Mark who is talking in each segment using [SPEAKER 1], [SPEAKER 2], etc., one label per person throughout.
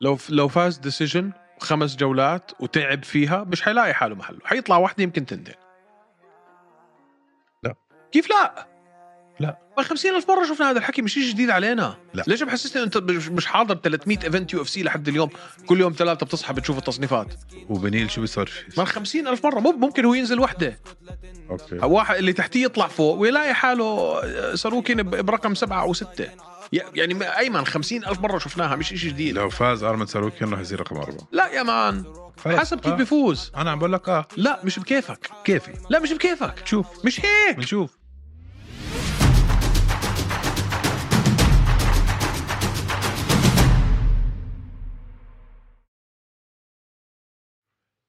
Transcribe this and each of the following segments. [SPEAKER 1] لو لو فاز ديسيجن خمس جولات وتعب فيها مش حيلاقي حاله محله حيطلع واحده يمكن تنتين
[SPEAKER 2] لا.
[SPEAKER 1] كيف لا
[SPEAKER 2] لا.
[SPEAKER 1] ما 50 الف مره شفنا هذا الحكي مش شيء جديد علينا
[SPEAKER 2] لا.
[SPEAKER 1] ليش محسسني انت مش مش حاضر 300 ايفنت يو اف سي لحد اليوم كل يوم ثلاثه بتصحى بتشوف التصنيفات
[SPEAKER 2] وبنيل شو بيصير
[SPEAKER 1] ما 50 الف مره مو ممكن هو ينزل وحده
[SPEAKER 2] اوكي
[SPEAKER 1] واحد اللي تحتيه يطلع فوق ويلاقي حاله آه، ساروكين ب- برقم سبعه او سته يعني ما- ايمن 50 الف مره شفناها مش شيء جديد
[SPEAKER 2] لو فاز ارمن ساروكيان رح يصير رقم اربعه
[SPEAKER 1] لا يا مان
[SPEAKER 2] خلص.
[SPEAKER 1] حسب كيف
[SPEAKER 2] آه.
[SPEAKER 1] بيفوز
[SPEAKER 2] انا عم بقول لك اه
[SPEAKER 1] لا مش بكيفك
[SPEAKER 2] كيفي
[SPEAKER 1] لا مش بكيفك
[SPEAKER 2] شوف
[SPEAKER 1] مش هيك
[SPEAKER 2] بنشوف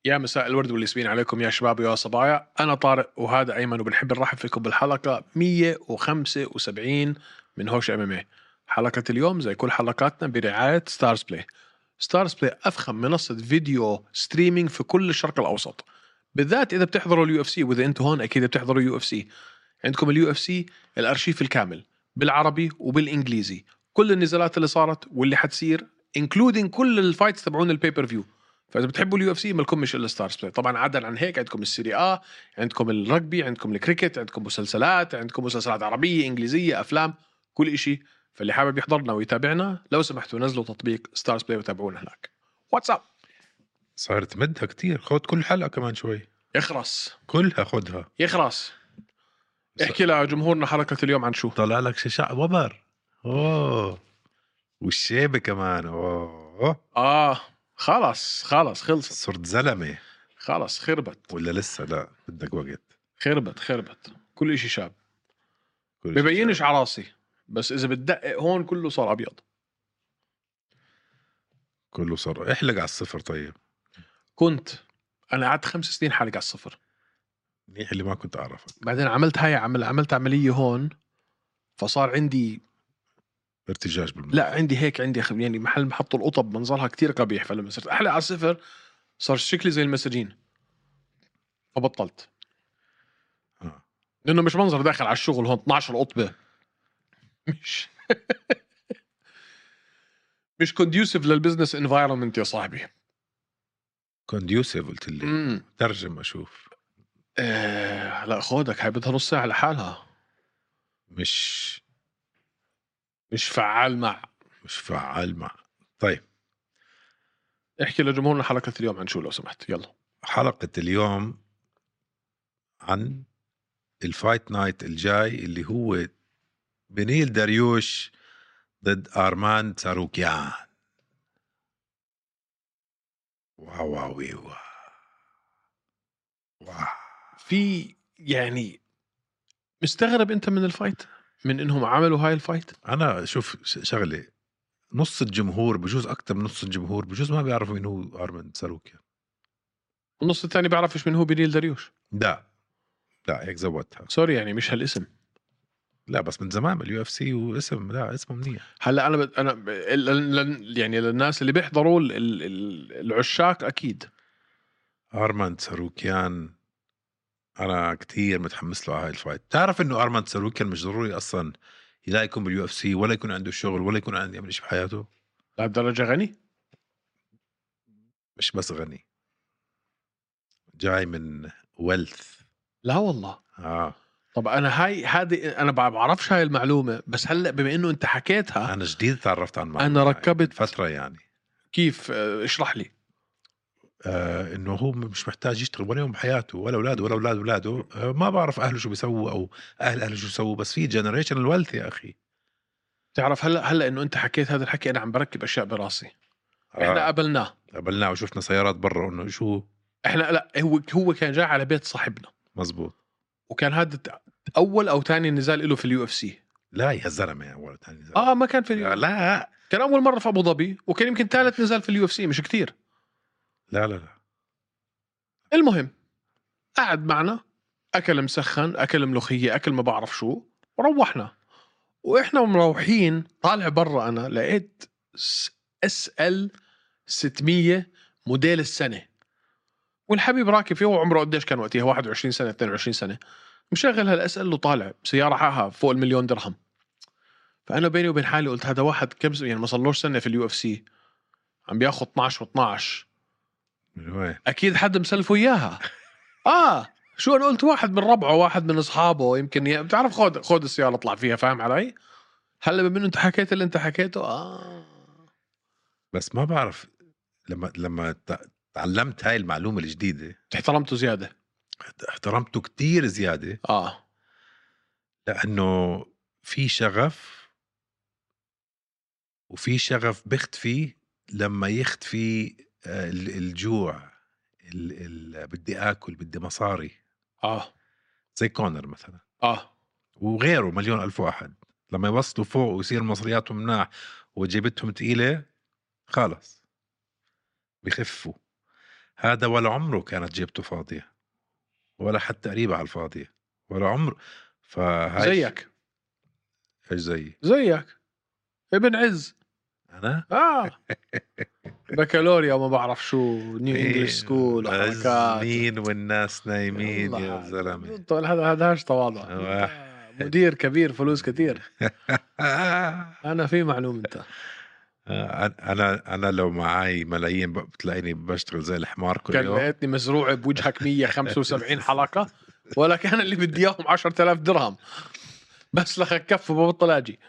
[SPEAKER 1] يا مساء الورد والياسمين عليكم يا شباب ويا صبايا انا طارق وهذا ايمن وبنحب نرحب فيكم بالحلقه 175 من هوش ام ام حلقه اليوم زي كل حلقاتنا برعايه ستارز بلاي ستارز بلاي افخم منصه فيديو ستريمينج في كل الشرق الاوسط بالذات اذا بتحضروا اليو اف سي واذا انتم هون اكيد بتحضروا يو اف سي عندكم اليو اف سي الارشيف الكامل بالعربي وبالانجليزي كل النزالات اللي صارت واللي حتصير انكلودينج كل الفايتس تبعون البيبر فيو فاذا بتحبوا اليو اف سي ما لكمش الا ستارز بلاي طبعا عدا عن هيك عندكم السيري اه عندكم الرugby عندكم الكريكت عندكم مسلسلات عندكم مسلسلات عربيه انجليزيه افلام كل إشي فاللي حابب يحضرنا ويتابعنا لو سمحتوا نزلوا تطبيق ستارز بلاي وتابعونا هناك واتساب
[SPEAKER 2] صارت مدها كتير خد كل حلقه كمان شوي
[SPEAKER 1] يخرس
[SPEAKER 2] كلها خدها
[SPEAKER 1] يخرس احكي لجمهورنا حركه اليوم عن شو
[SPEAKER 2] طلع لك ششع وبر اوه والشيبه كمان اوه
[SPEAKER 1] اه خلص خلص خلصت
[SPEAKER 2] صرت زلمه
[SPEAKER 1] خلص خربت
[SPEAKER 2] ولا لسه لا بدك وقت
[SPEAKER 1] خربت خربت كل إشي شاب
[SPEAKER 2] كل شي
[SPEAKER 1] ببينش على راسي بس اذا بتدقق هون كله صار ابيض
[SPEAKER 2] كله صار احلق على الصفر طيب
[SPEAKER 1] كنت انا قعدت خمس سنين حالق على الصفر
[SPEAKER 2] منيح اللي ما كنت اعرفك
[SPEAKER 1] بعدين عملت هاي عمل عملت عمليه هون فصار عندي
[SPEAKER 2] ارتجاج بالمخ
[SPEAKER 1] لا عندي هيك عندي خ- يعني محل محطوا القطب منظرها كتير قبيح فلما صرت احلق على الصفر صار شكلي زي المساجين فبطلت
[SPEAKER 2] آه.
[SPEAKER 1] لانه مش منظر داخل على الشغل هون 12 قطبه مش مش كونديوسيف للبزنس انفايرمنت يا صاحبي
[SPEAKER 2] كونديوسيف قلت لي
[SPEAKER 1] امم
[SPEAKER 2] ترجم اشوف
[SPEAKER 1] آه لا خودك هاي بدها نص ساعه لحالها
[SPEAKER 2] مش
[SPEAKER 1] مش فعال مع
[SPEAKER 2] مش فعال مع طيب
[SPEAKER 1] احكي لجمهورنا حلقه اليوم عن شو لو سمحت يلا
[SPEAKER 2] حلقة اليوم عن الفايت نايت الجاي اللي هو بنيل داريوش ضد أرمان ساروكيان واو واو واو واو.
[SPEAKER 1] في يعني مستغرب انت من الفايت من انهم عملوا هاي الفايت
[SPEAKER 2] أنا شوف ش- شغلة نص الجمهور بجوز أكتر من نص الجمهور بجوز ما بيعرفوا مين هو أرمان ساروكيان
[SPEAKER 1] والنص الثاني بيعرفش من هو بنيل داريوش
[SPEAKER 2] لا لا هيك زودتها
[SPEAKER 1] سوري يعني مش هالاسم
[SPEAKER 2] لا بس من زمان اليو اف سي واسم لا اسمه منيح
[SPEAKER 1] هلا انا بت... انا ب- ال- لن- يعني للناس اللي بيحضروا ال... ال... ال- العشاق اكيد
[SPEAKER 2] ارماند ساروكيان انا كثير متحمس له على هاي الفايت تعرف انه ارماند ساروكيان مش ضروري اصلا لا يكون باليو اف سي ولا يكون عنده شغل ولا يكون عنده يعمل شيء بحياته
[SPEAKER 1] لهالدرجه غني
[SPEAKER 2] مش بس غني جاي من ويلث
[SPEAKER 1] لا والله
[SPEAKER 2] اه
[SPEAKER 1] طب انا هاي هذه انا بع- بعرفش هاي المعلومه بس هلا بما انه انت حكيتها
[SPEAKER 2] انا جديد تعرفت عن معلومة
[SPEAKER 1] انا
[SPEAKER 2] هاي.
[SPEAKER 1] آه. ركبت
[SPEAKER 2] فتره يعني
[SPEAKER 1] كيف آه، اشرح لي
[SPEAKER 2] آه انه هو مش محتاج يشتغل ولا يوم بحياته ولا اولاده ولا اولاد اولاده آه ما بعرف اهله شو بيسووا او اهل اهله شو بيسووا بس في جنريشن ويلث يا اخي
[SPEAKER 1] تعرف هلا هلا انه انت حكيت هذا الحكي انا عم بركب اشياء براسي احنا
[SPEAKER 2] آه
[SPEAKER 1] قابلناه
[SPEAKER 2] قبلناه وشفنا سيارات برا انه شو
[SPEAKER 1] احنا لا هو هو كان جاي على بيت صاحبنا
[SPEAKER 2] مزبوط
[SPEAKER 1] وكان هذا ت- اول او ثاني نزال له في اليو اف سي
[SPEAKER 2] لا يا زلمه ولا ثاني زلمه
[SPEAKER 1] اه ما كان في اليو
[SPEAKER 2] لا
[SPEAKER 1] كان اول مره في ابو ظبي وكان يمكن ثالث نزال في اليو اف سي مش كتير
[SPEAKER 2] لا لا لا
[SPEAKER 1] المهم قعد معنا اكل مسخن اكل ملوخيه اكل ما بعرف شو وروحنا واحنا مروحين طالع برا انا لقيت اس ال 600 موديل السنه والحبيب راكب فيه هو عمره قديش كان وقتها 21 سنه 22 سنه مشغل هالاس ال وطالع سياره حقها فوق المليون درهم فانا بيني وبين حالي قلت هذا واحد كم س- يعني ما صلوش سنه في اليو اف سي عم بياخذ 12 و12
[SPEAKER 2] من وين؟
[SPEAKER 1] اكيد حد مسلفه اياها اه شو انا قلت واحد من ربعه واحد من اصحابه يمكن ي... بتعرف خد خد السياره اطلع فيها فاهم علي هلا بما انه انت حكيت اللي انت حكيته اه
[SPEAKER 2] بس ما بعرف لما لما ت- تعلمت هاي المعلومه الجديده
[SPEAKER 1] احترمته زياده
[SPEAKER 2] احترمته كتير زياده
[SPEAKER 1] اه
[SPEAKER 2] لانه في شغف وفي شغف بيختفي لما يختفي آه، ال- الجوع ال- ال- بدي اكل بدي مصاري
[SPEAKER 1] اه
[SPEAKER 2] زي كونر مثلا
[SPEAKER 1] اه
[SPEAKER 2] وغيره مليون الف واحد لما يوصلوا فوق ويصير مصرياتهم مناح وجيبتهم تقيله خلص بخفوا هذا ولا عمره كانت جيبته فاضيه ولا حتى قريبه على الفاضيه ولا عمره فهاي
[SPEAKER 1] زيك
[SPEAKER 2] ايش زيي
[SPEAKER 1] زيك ابن عز
[SPEAKER 2] انا
[SPEAKER 1] اه بكالوريا وما بعرف شو نيو
[SPEAKER 2] إيه،
[SPEAKER 1] انجلش سكول وحركات
[SPEAKER 2] مين والناس نايمين
[SPEAKER 1] والله
[SPEAKER 2] يا
[SPEAKER 1] هذا-
[SPEAKER 2] زلمه
[SPEAKER 1] طول طيب، هذا هذا هاش تواضع
[SPEAKER 2] آه.
[SPEAKER 1] أنت مدير كبير فلوس كثير
[SPEAKER 2] آه،
[SPEAKER 1] انا في معلوم انت
[SPEAKER 2] انا انا لو معي ملايين بتلاقيني بشتغل زي الحمار كل
[SPEAKER 1] كان
[SPEAKER 2] يوم
[SPEAKER 1] لقيتني مزروعه بوجهك 175 حلقه ولا كان اللي بدي اياهم 10000 درهم بس لخك كف وببطل اجي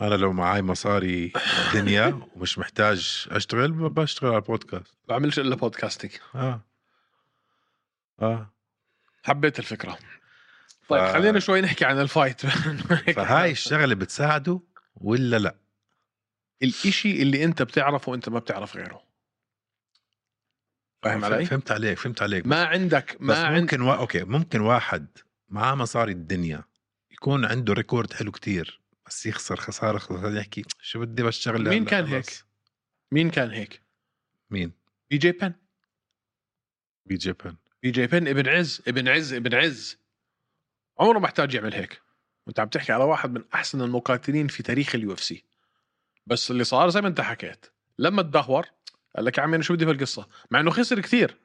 [SPEAKER 2] انا لو معي مصاري دنيا ومش محتاج اشتغل ب- بشتغل على البودكاست
[SPEAKER 1] بعملش الا بودكاستنج
[SPEAKER 2] اه اه
[SPEAKER 1] حبيت الفكره طيب
[SPEAKER 2] ف-
[SPEAKER 1] خلينا شوي نحكي عن الفايت
[SPEAKER 2] فهاي الشغله بتساعده ولا لا
[SPEAKER 1] الاشي اللي انت بتعرفه انت ما بتعرف غيره فاهم علي؟
[SPEAKER 2] فهمت عليك فهمت عليك
[SPEAKER 1] ما عندك
[SPEAKER 2] بس
[SPEAKER 1] ما عندك
[SPEAKER 2] ممكن و... اوكي ممكن واحد معاه مصاري الدنيا يكون عنده ريكورد حلو كتير بس يخسر خساره خساره يحكي شو بدي بشتغل
[SPEAKER 1] مين
[SPEAKER 2] هلا
[SPEAKER 1] كان
[SPEAKER 2] خلص."
[SPEAKER 1] هيك؟ مين كان هيك؟
[SPEAKER 2] مين
[SPEAKER 1] بي جي بن
[SPEAKER 2] بي جي بن
[SPEAKER 1] بي جي بن ابن عز ابن عز ابن عز عمره ما احتاج يعمل هيك وانت عم تحكي على واحد من احسن المقاتلين في تاريخ اليو اف سي بس اللي صار زي ما انت حكيت لما تدهور قال لك يا عمي انا شو بدي في القصه مع انه خسر كثير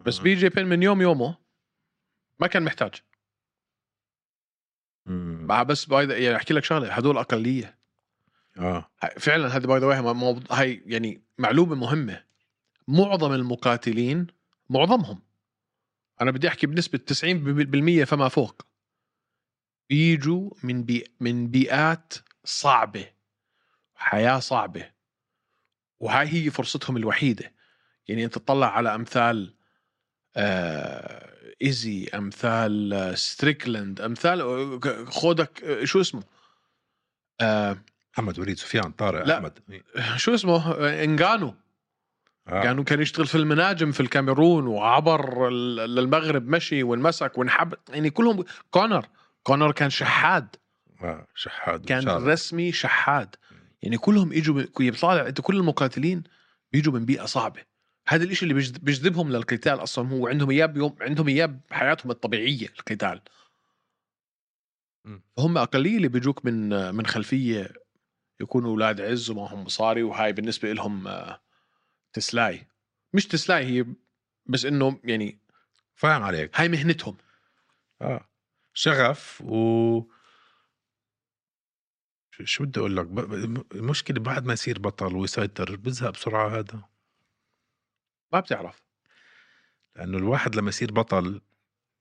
[SPEAKER 1] بس بي جي بن من يوم يومه ما كان محتاج
[SPEAKER 2] مم.
[SPEAKER 1] مع بس باي يعني احكي لك شغله هدول اقليه
[SPEAKER 2] اه
[SPEAKER 1] فعلا هذا باي ذا واي هاي يعني معلومه مهمه معظم المقاتلين معظمهم انا بدي احكي بنسبه 90% فما فوق بيجوا من بي من بيئات صعبه حياه صعبه وهاي هي فرصتهم الوحيده يعني انت تطلع على امثال آه ايزي امثال آه، ستريكلند امثال آه، خودك آه، شو اسمه آه
[SPEAKER 2] محمد وليد سفيان طارق
[SPEAKER 1] لا.
[SPEAKER 2] احمد
[SPEAKER 1] شو اسمه انغانو
[SPEAKER 2] آه.
[SPEAKER 1] كانوا كان يشتغل في المناجم في الكاميرون وعبر ال- للمغرب مشي وانمسك وانحب يعني كلهم كونر كونر كان شحاد
[SPEAKER 2] آه. شحاد
[SPEAKER 1] كان
[SPEAKER 2] وشارع.
[SPEAKER 1] رسمي شحاد يعني كلهم اجوا من- كي بيطلع انت كل المقاتلين بيجوا من بيئه صعبه هذا الإشي اللي بيجذ- بيجذبهم للقتال اصلا هو عندهم اياه بيوم عندهم اياه بحياتهم الطبيعيه القتال
[SPEAKER 2] مم.
[SPEAKER 1] هم اقليه اللي بيجوك من من خلفيه يكونوا اولاد عز ومعهم مصاري وهاي بالنسبه لهم آه، تسلاي مش تسلاي هي بس انه يعني
[SPEAKER 2] فاهم عليك
[SPEAKER 1] هاي مهنتهم
[SPEAKER 2] اه شغف و شو- شو بدي اقول لك ب- ب- المشكله بعد ما يصير بطل ويسيطر بزهق بسرعه هذا
[SPEAKER 1] ما بتعرف
[SPEAKER 2] لانه الواحد لما يصير بطل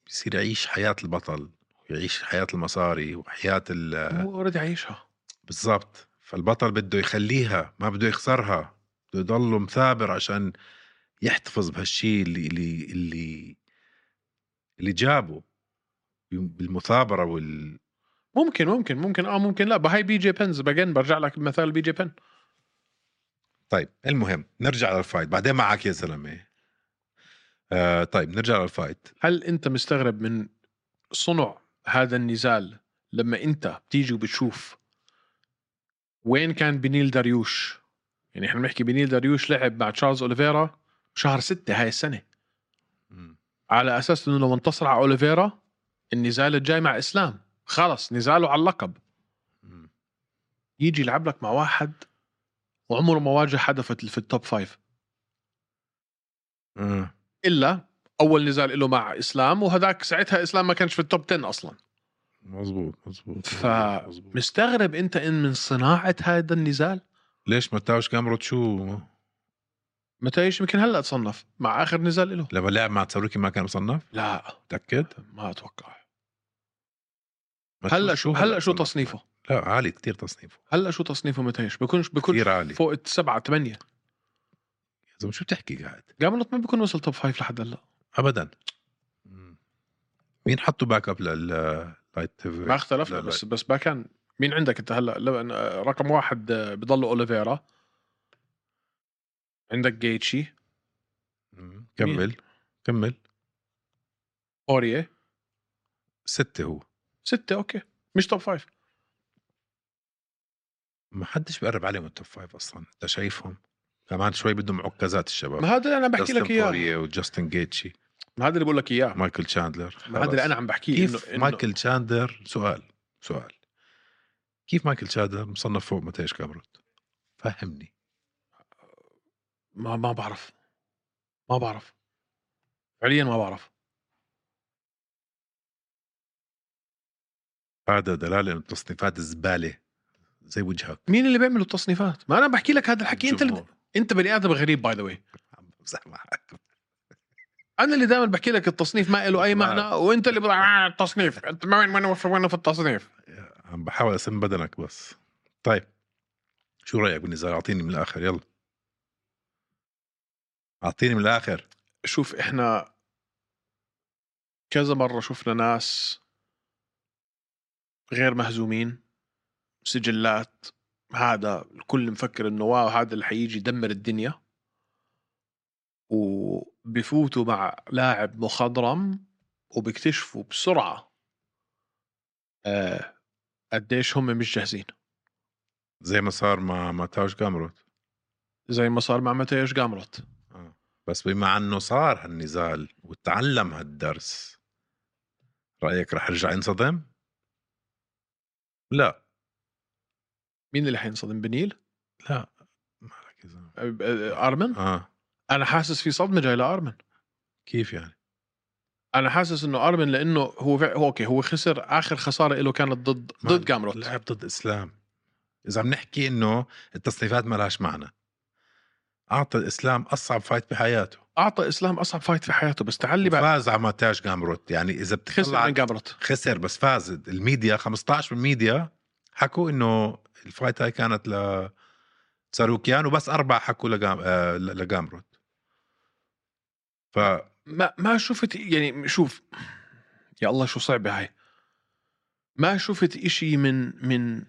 [SPEAKER 2] بصير يعيش حياه البطل ويعيش حياه المصاري وحياه ال-
[SPEAKER 1] هو اوريدي عايشها
[SPEAKER 2] بالضبط فالبطل بده يخليها ما بده يخسرها بده يضله مثابر عشان يحتفظ بهالشيء اللي اللي اللي اللي جابه بالمثابره وال
[SPEAKER 1] ممكن ممكن ممكن اه ممكن لا بهاي بي جي بنز بجن برجع لك بمثال بي جي بن
[SPEAKER 2] طيب المهم نرجع للفايت بعدين معك يا زلمه آه طيب نرجع للفايت
[SPEAKER 1] هل انت مستغرب من صنع هذا النزال لما انت بتيجي وبتشوف وين كان بنيل داريوش يعني احنا بنحكي بنيل داريوش لعب مع تشارلز اوليفيرا شهر ستة هاي السنه على اساس انه لو انتصر على اوليفيرا النزال الجاي مع اسلام خلص نزاله على اللقب يجي يلعب لك مع واحد وعمره ما واجه حدا في في التوب فايف
[SPEAKER 2] آه.
[SPEAKER 1] الا اول نزال له مع اسلام وهذاك ساعتها اسلام ما كانش في التوب 10 اصلا
[SPEAKER 2] مزبوط مزبوط
[SPEAKER 1] ف- مستغرب انت ان من صناعه هذا النزال
[SPEAKER 2] ليش ما تاوش جامروت شو
[SPEAKER 1] متايش يمكن هلا تصنف مع اخر نزال له
[SPEAKER 2] لما لعب مع تساروكي ما كان مصنف
[SPEAKER 1] لا
[SPEAKER 2] متاكد
[SPEAKER 1] ما اتوقع
[SPEAKER 2] ما
[SPEAKER 1] هلا شو هلا شو
[SPEAKER 2] صنف.
[SPEAKER 1] تصنيفه
[SPEAKER 2] لا عالي كتير تصنيفه
[SPEAKER 1] هلا شو تصنيفه متايش بكونش بكون
[SPEAKER 2] كثير عالي
[SPEAKER 1] فوق السبعة ثمانية
[SPEAKER 2] يا زلمه شو بتحكي قاعد
[SPEAKER 1] جاملوت ما بيكون وصل توب فايف لحد هلا
[SPEAKER 2] ابدا مين حطوا باك اب لللايت
[SPEAKER 1] ما اختلفنا
[SPEAKER 2] لا، لا.
[SPEAKER 1] بس بس ما كان مين عندك انت هلا لبن- آه، رقم واحد آه، بضل اوليفيرا عندك جيتشي
[SPEAKER 2] كمل كمل
[SPEAKER 1] اوريه
[SPEAKER 2] ستة هو
[SPEAKER 1] ستة اوكي مش توب فايف
[SPEAKER 2] ما حدش بيقرب عليهم التوب فايف اصلا انت شايفهم كمان شوي بدهم عكازات الشباب
[SPEAKER 1] ما هذا اللي انا بحكي لك
[SPEAKER 2] جاستن
[SPEAKER 1] اياه
[SPEAKER 2] بوريه وجاستن جيتشي
[SPEAKER 1] ما هذا اللي بقول لك اياه
[SPEAKER 2] مايكل تشاندلر
[SPEAKER 1] ما هذا اللي انا عم بحكيه
[SPEAKER 2] كيف
[SPEAKER 1] إنه- إنه-
[SPEAKER 2] مايكل تشاندلر سؤال سؤال كيف مايكل تشاندلر مصنف فوق ماتيش كامروت فهمني
[SPEAKER 1] ما ما بعرف ما بعرف فعليا ما بعرف
[SPEAKER 2] هذا دلاله انه التصنيفات زباله زي وجهك
[SPEAKER 1] مين اللي بيعمل التصنيفات ما انا بحكي لك هذا الحكي انت اللي
[SPEAKER 2] الجمهور.
[SPEAKER 1] انت بني ادم غريب باي ذا واي
[SPEAKER 2] عم بمزح معك
[SPEAKER 1] انا اللي دائما بحكي لك التصنيف ما له اي
[SPEAKER 2] ما-
[SPEAKER 1] معنى وانت اللي بضع آه التصنيف انت ما وين وين في وين في التصنيف
[SPEAKER 2] عم بحاول اسم بدنك بس طيب شو رايك بالنزال اعطيني من الاخر يلا اعطيني من الاخر
[SPEAKER 1] شوف احنا كذا مره شفنا ناس غير مهزومين سجلات هذا الكل مفكر انه واو هذا اللي حيجي يدمر الدنيا وبفوتوا مع لاعب مخضرم وبيكتشفوا بسرعه آه، قديش هم مش جاهزين
[SPEAKER 2] زي ما صار مع مع تاوش كامروت
[SPEAKER 1] زي ما صار مع ماتيوش جامروت
[SPEAKER 2] آه. بس بما انه صار هالنزال وتعلم هالدرس رايك رح يرجع ينصدم لا
[SPEAKER 1] مين اللي حينصدم بنيل؟
[SPEAKER 2] لا مالك يا زلمه
[SPEAKER 1] آه، آه، ارمن؟
[SPEAKER 2] اه
[SPEAKER 1] انا حاسس في صدمه جاي لارمن
[SPEAKER 2] كيف يعني
[SPEAKER 1] انا حاسس انه ارمن لانه هو فع- هو اوكي هو خسر اخر خساره له كانت ضد
[SPEAKER 2] ما-
[SPEAKER 1] ضد جامروت
[SPEAKER 2] لعب ضد اسلام اذا عم نحكي انه التصنيفات ما لهاش معنى اعطى الاسلام اصعب فايت بحياته
[SPEAKER 1] اعطى اسلام اصعب فايت في حياته بس تعلي بعد
[SPEAKER 2] فاز على مونتاج جامروت يعني اذا
[SPEAKER 1] خسر
[SPEAKER 2] بتطلع
[SPEAKER 1] من جامروت
[SPEAKER 2] خسر بس فاز الميديا 15 من الميديا حكوا انه الفايت هاي كانت ل ساروكيان وبس اربعه حكوا لجام... آه، ل- لجامروت ف
[SPEAKER 1] ما ما شفت يعني شوف يا الله شو صعبه هاي ما شفت إشي من من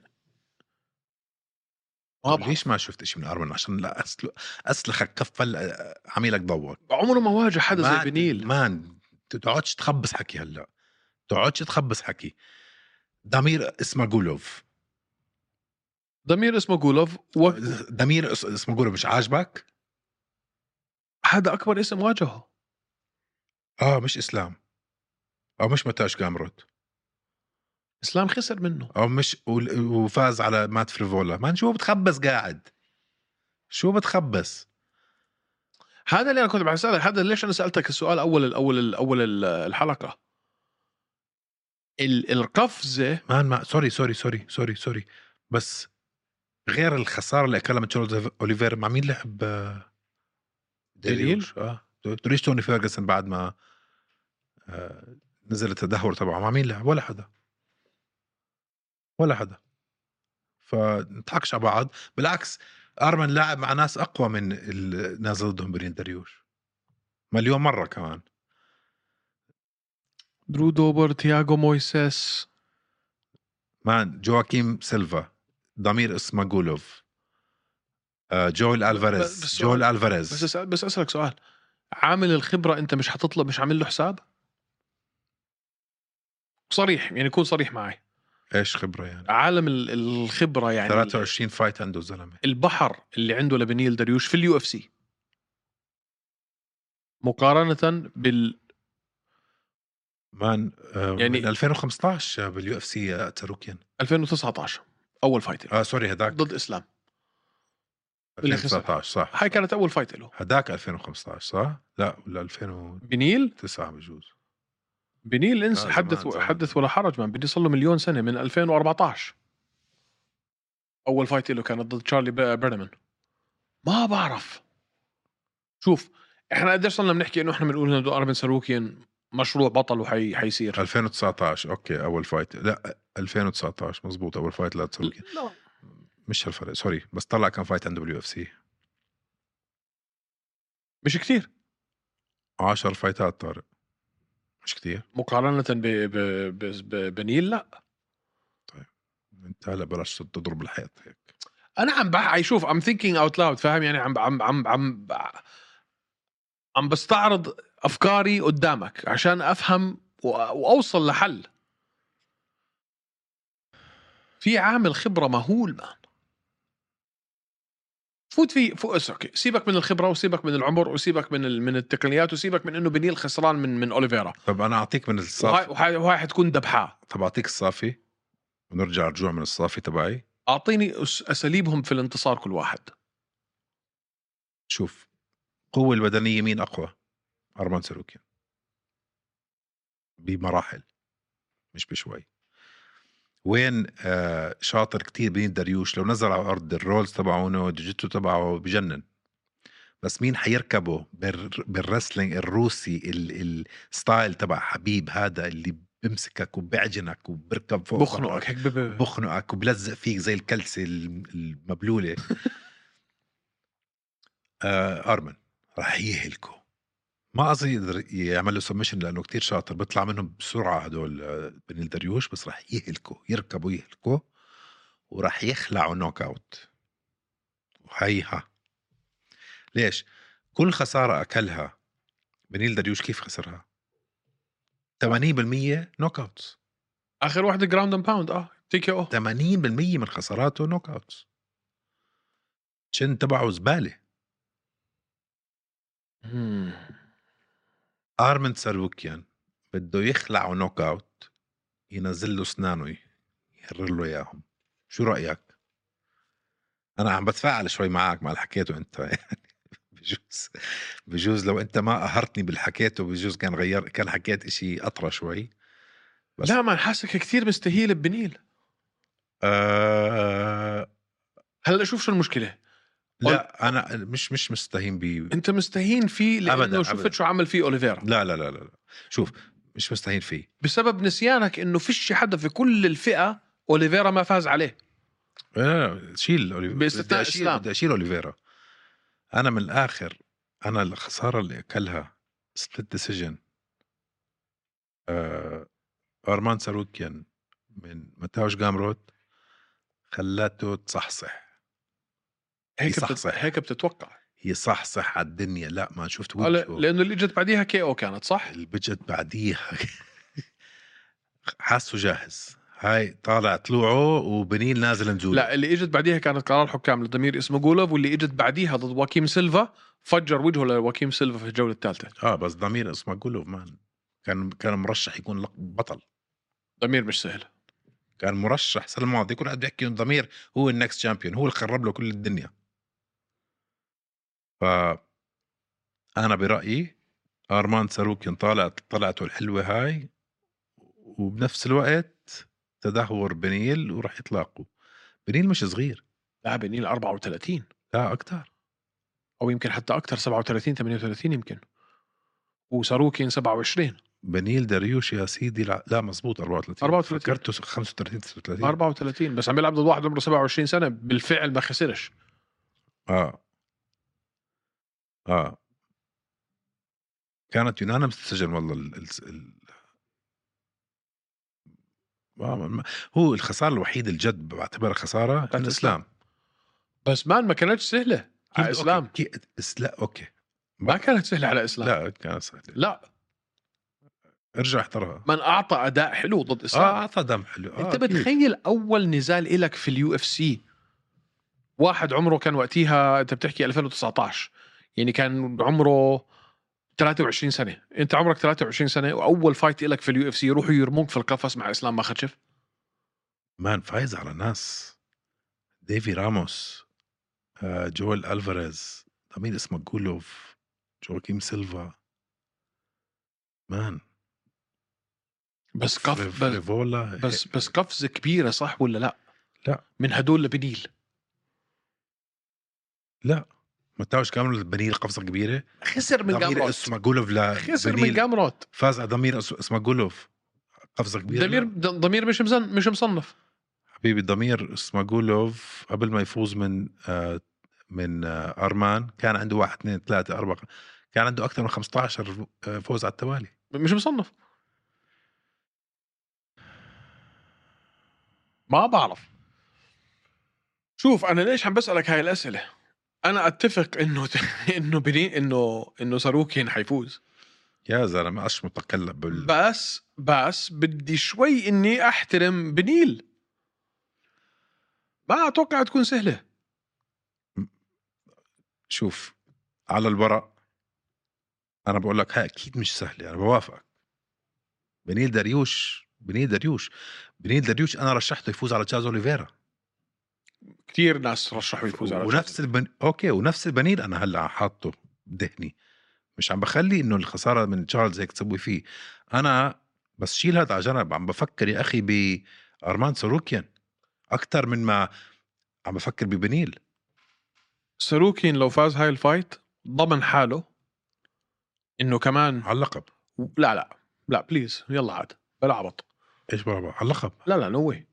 [SPEAKER 1] ما بعرف.
[SPEAKER 2] ليش ما شفت شيء من ارمن عشان لا أسل... اسلخك كفل آه، عميلك ضوك
[SPEAKER 1] عمره ما واجه حدا
[SPEAKER 2] ما-
[SPEAKER 1] زي بنيل
[SPEAKER 2] مان تقعدش تخبص حكي هلا تقعدش تخبص حكي ضمير اسمه جولوف
[SPEAKER 1] ضمير اسمه جولوف و...
[SPEAKER 2] ضمير اس- اسمه جولوف مش عاجبك؟
[SPEAKER 1] هذا اكبر اسم واجهه
[SPEAKER 2] اه مش اسلام او مش متاش كامروت
[SPEAKER 1] اسلام خسر منه
[SPEAKER 2] او مش وال- وفاز على مات فريفولا ما شو بتخبص قاعد شو بتخبص
[SPEAKER 1] هذا اللي انا كنت بسالك هذا ليش انا سالتك السؤال اول الاول اول الحلقه ال- القفزه
[SPEAKER 2] مان ما سوري سوري سوري سوري سوري بس غير الخساره اللي اكلها من تشارلز اوليفير مع مين لعب آه،
[SPEAKER 1] دليل؟
[SPEAKER 2] دريوش، اه تريش توني فيرجسون بعد ما آه، نزل التدهور تبعه مع مين لعب ولا حدا ولا حدا فنضحكش على بعض بالعكس ارمن لاعب مع ناس اقوى من ال- نازل ضدهم برين دريوش مليون مره كمان
[SPEAKER 1] درو دوبر تياغو مويسيس
[SPEAKER 2] مان جواكيم سيلفا ضمير اسمه جولوف آه، جويل الفاريز
[SPEAKER 1] بس-
[SPEAKER 2] جويل
[SPEAKER 1] بس
[SPEAKER 2] الفاريز
[SPEAKER 1] أسأل بس اسالك سؤال عامل الخبره انت مش حتطلب مش عامل له حساب؟ صريح يعني كون صريح معي
[SPEAKER 2] ايش خبره يعني
[SPEAKER 1] عالم ال- الخبره يعني
[SPEAKER 2] 23 فايت عنده زلمه
[SPEAKER 1] البحر اللي عنده لبنيل دريوش في اليو اف سي مقارنه بال
[SPEAKER 2] مان آه،
[SPEAKER 1] يعني-
[SPEAKER 2] من 2015 باليو اف سي آه، تاروكيان
[SPEAKER 1] 2019 اول فايت له
[SPEAKER 2] اه سوري هداك
[SPEAKER 1] ضد اسلام اللي خسر.
[SPEAKER 2] 2019 صح
[SPEAKER 1] هاي كانت اول فايت له
[SPEAKER 2] هداك 2015 صح؟ لا ولا 2009
[SPEAKER 1] بنيل
[SPEAKER 2] بجوز
[SPEAKER 1] بنيل انس
[SPEAKER 2] آه،
[SPEAKER 1] حدث
[SPEAKER 2] زمان، زمان.
[SPEAKER 1] حدث ولا حرج من بنيل صار له مليون سنه من 2014 اول فايت له كانت ضد تشارلي ب- بيرمان ما بعرف شوف احنا قديش صرنا بنحكي انه احنا بنقول انه ارمن ساروكيان مشروع بطل وحي حيصير
[SPEAKER 2] 2019 اوكي اول فايت لا 2019 مزبوط اول فايت لا تساروكيان
[SPEAKER 1] لا.
[SPEAKER 2] مش هالفرق سوري بس طلع كم فايت عنده باليو اف سي
[SPEAKER 1] مش كثير
[SPEAKER 2] 10 فايتات طارق مش كتير
[SPEAKER 1] مقارنه ب... ب... ب... ب... بنيل لا
[SPEAKER 2] انت هلا بلاش تضرب الحيط هيك
[SPEAKER 1] انا عم بح... أي شوف I'm thinking out loud فاهم يعني عم عم عم عم عم بستعرض افكاري قدامك عشان افهم و... واوصل لحل في عامل خبره مهول مان فوت في فوق اوكي سيبك من الخبره وسيبك من العمر وسيبك من ال... من التقنيات وسيبك من انه بنيل خسران من من اوليفيرا
[SPEAKER 2] طب انا اعطيك من
[SPEAKER 1] وهاي
[SPEAKER 2] الصافي
[SPEAKER 1] وهاي, وهاي حتكون دبحه
[SPEAKER 2] طب اعطيك الصافي ونرجع رجوع من الصافي تبعي
[SPEAKER 1] اعطيني أس- اساليبهم في الانتصار كل واحد
[SPEAKER 2] شوف قوة البدنية مين أقوى؟ أرمان ساروكيان بمراحل مش بشوي وين آه شاطر كتير بين دريوش لو نزل على الأرض الرولز تبعونه جوجيتسو تبعه بجنن بس مين حيركبه بال- بالرسلينج الروسي ال- الستايل تبع حبيب هذا اللي بمسكك وبعجنك وبركب فوق
[SPEAKER 1] بخنقك هيك بب...
[SPEAKER 2] بخنقك وبلزق فيك زي الكلسة الم- المبلولة آه أرمن رح يهلكه ما قصدي يقدر يعمل له سبمشن لأنه كتير شاطر بيطلع منهم بسرعة هدول آه، بن الدريوش بس رح يهلكوا يركبوا يهلكوا ورح يخلعوا نوك أوت وهيها ليش؟ كل خسارة أكلها بنيل دريوش كيف خسرها؟ 80% نوك أوتس
[SPEAKER 1] اخر واحده جراوند اند باوند اه تيكي او
[SPEAKER 2] 80% من خساراته نوك اوتس شن تبعه زباله ارمن ساروكيان بده يخلعه نوك اوت ينزل له اسنانه يهرر له اياهم شو رايك؟ انا عم بتفاعل شوي معك مع اللي حكيته انت يعني بجوز بجوز لو انت ما قهرتني باللي حكيته بجوز كان غير كان حكيت إشي اطرى شوي بس-
[SPEAKER 1] لا ما حاسك كثير مستهيل ببنيل
[SPEAKER 2] أه
[SPEAKER 1] هلا شوف شو المشكله
[SPEAKER 2] لا انا مش مش مستهين بي
[SPEAKER 1] انت مستهين فيه لانه
[SPEAKER 2] أبداً،
[SPEAKER 1] شفت
[SPEAKER 2] أبداً.
[SPEAKER 1] شو عمل فيه اوليفيرا
[SPEAKER 2] لا لا لا لا لا. شوف مش مستهين فيه
[SPEAKER 1] بسبب نسيانك انه فيش حدا في كل الفئه اوليفيرا ما فاز عليه
[SPEAKER 2] لا، لا لا، آه، شيل اوليفيرا
[SPEAKER 1] باستثناء
[SPEAKER 2] بدي أشيل-
[SPEAKER 1] إسلام.
[SPEAKER 2] بدي اشيل اوليفيرا انا من الاخر انا الخساره اللي اكلها سبليت ديسيجن ارمان آه، ساروكيان من متاوش جامروت خلاته تصحصح
[SPEAKER 1] هيك بتت...
[SPEAKER 2] يصحصح.
[SPEAKER 1] هيك بتتوقع
[SPEAKER 2] يصحصح على الدنيا لا ما شفت
[SPEAKER 1] آه، لا-
[SPEAKER 2] وجهه
[SPEAKER 1] لانه اللي اجت بعديها كي او كانت صح
[SPEAKER 2] البجت بعديها حاسه جاهز هاي طالع طلوعه وبنين نازل نزوله
[SPEAKER 1] لا اللي اجت بعديها كانت قرار حكام لضمير اسمه جولوف واللي اجت بعديها ضد واكيم سيلفا فجر وجهه لواكيم سيلفا في الجوله الثالثه
[SPEAKER 2] اه بس ضمير اسمه جولوف مان كان كان مرشح يكون لق- بطل
[SPEAKER 1] ضمير مش سهل
[SPEAKER 2] كان مرشح السنه الماضيه كل حد بيحكي انه ضمير هو النكست شامبيون هو اللي خرب له كل الدنيا ف انا برايي ارمان ساروكين طلعت طلعته الحلوه هاي وبنفس الوقت تدهور بنيل وراح يطلقوا بنيل مش صغير
[SPEAKER 1] لا بنيل 34
[SPEAKER 2] لا اكثر
[SPEAKER 1] او يمكن حتى اكثر 37 38 يمكن وساروكين 27
[SPEAKER 2] بنيل داريوش يا سيدي لا, لا مزبوط 34
[SPEAKER 1] 34.
[SPEAKER 2] فكرته 35 36
[SPEAKER 1] 34 بس عم بيلعب ضد واحد عمره 27 سنه بالفعل ما خسرش
[SPEAKER 2] اه اه كانت يونانيمس تسجل والله ال... ال... ال... آه، ما- هو الخساره الوحيده الجد بعتبرها خساره
[SPEAKER 1] بتاعت
[SPEAKER 2] كان الاسلام
[SPEAKER 1] بس مان ما كانتش سهله على
[SPEAKER 2] كيف-
[SPEAKER 1] اسلام
[SPEAKER 2] أوكي. كي... إس... لا اوكي
[SPEAKER 1] ما كانت سهله على اسلام
[SPEAKER 2] لا كان سهل
[SPEAKER 1] لا
[SPEAKER 2] ارجع احضرها
[SPEAKER 1] من اعطى اداء حلو ضد
[SPEAKER 2] اه
[SPEAKER 1] اسلام آه
[SPEAKER 2] اعطى دم حلو آه
[SPEAKER 1] انت
[SPEAKER 2] أكيد.
[SPEAKER 1] بتخيل اول نزال إلك في اليو اف سي واحد عمره كان وقتها انت بتحكي 2019 يعني كان عمره 23 سنه انت عمرك 23 سنه واول فايت إلك في اليو اف سي يروحوا يرموك في القفص مع اسلام ما خدشف
[SPEAKER 2] مان فايز على ناس ديفي راموس آه جويل الفاريز مين اسمه جولوف جواكيم سيلفا مان
[SPEAKER 1] بس قف بس
[SPEAKER 2] فريفولا
[SPEAKER 1] بس بس قفزه كبيره صح ولا لا؟
[SPEAKER 2] لا.
[SPEAKER 1] من هدول لبنيل
[SPEAKER 2] متاوش كامل بنيل قفصه كبيره
[SPEAKER 1] خسر من
[SPEAKER 2] ضمير
[SPEAKER 1] جامروت
[SPEAKER 2] اسمه جولوف لا
[SPEAKER 1] خسر من
[SPEAKER 2] بنيل
[SPEAKER 1] جامروت
[SPEAKER 2] فاز على ضمير اس- اسمه جولوف قفصه كبيره
[SPEAKER 1] ضمير
[SPEAKER 2] لا.
[SPEAKER 1] ضمير مش مزن مش مصنف
[SPEAKER 2] حبيبي ضمير اسمه جولوف قبل ما يفوز من آه، من آه، ارمان كان عنده واحد اثنين ثلاثه اربعه كان عنده اكثر من 15 فوز على التوالي
[SPEAKER 1] مش مصنف ما بعرف شوف انا ليش عم بسالك هاي الاسئله انا اتفق انه انه بني انه انه ساروكين حيفوز
[SPEAKER 2] يا زلمه اش متقلب بال...
[SPEAKER 1] بس بس بدي شوي اني احترم بنيل ما اتوقع تكون سهله
[SPEAKER 2] شوف على الورق انا بقول لك هاي اكيد مش سهله انا بوافقك بنيل دريوش بنيل دريوش بنيل دريوش انا رشحته يفوز على تشاز اوليفيرا
[SPEAKER 1] كثير ناس رشحوا يفوز على
[SPEAKER 2] ونفس البن... اوكي ونفس البنيل انا هلا حاطه دهني مش عم بخلي انه الخساره من تشارلز هيك تسوي فيه انا بس شيل هذا على جنب عم بفكر يا اخي بارمان سروكيان اكثر من ما عم بفكر ببنيل
[SPEAKER 1] ساروكين لو فاز هاي الفايت ضمن حاله انه كمان
[SPEAKER 2] على اللقب
[SPEAKER 1] لا لا لا بليز يلا عاد بلا عبط
[SPEAKER 2] ايش بابا على اللقب
[SPEAKER 1] لا لا نوي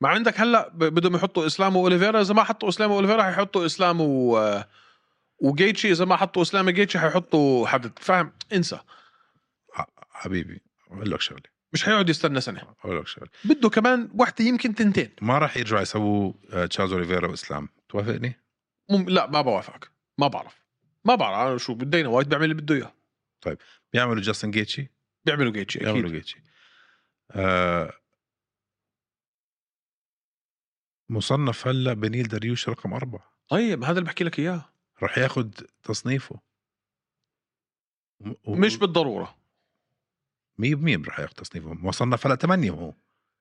[SPEAKER 1] ما عندك هلا ب- بدهم يحطوا اسلام واوليفيرا اذا ما حطوا اسلام واوليفيرا حيحطوا اسلام و وجيتشي اذا ما حطوا اسلام جيتشي حيحطوا حد فاهم انسى
[SPEAKER 2] حبيبي اقول لك شغله
[SPEAKER 1] مش حيقعد يستنى سنه
[SPEAKER 2] اقول لك شغله
[SPEAKER 1] بده كمان وحده يمكن تنتين
[SPEAKER 2] ما راح يرجعوا يسووا آه، تشارلز اوليفيرا واسلام توافقني
[SPEAKER 1] مم... لا ما بوافقك ما بعرف ما بعرف انا شو بدينا وايد بيعمل اللي بده اياه
[SPEAKER 2] بيعملوا جاستن جيتشي
[SPEAKER 1] بيعملوا جيتشي اكيد
[SPEAKER 2] بيعملوا جيتشي آه مصنف هلا بنيل دريوش رقم أربعة
[SPEAKER 1] طيب هذا اللي بحكي لك اياه
[SPEAKER 2] راح ياخذ تصنيفه م- و-
[SPEAKER 1] مش بالضروره
[SPEAKER 2] 100% راح ياخذ تصنيفه مصنف هلا ثمانية هو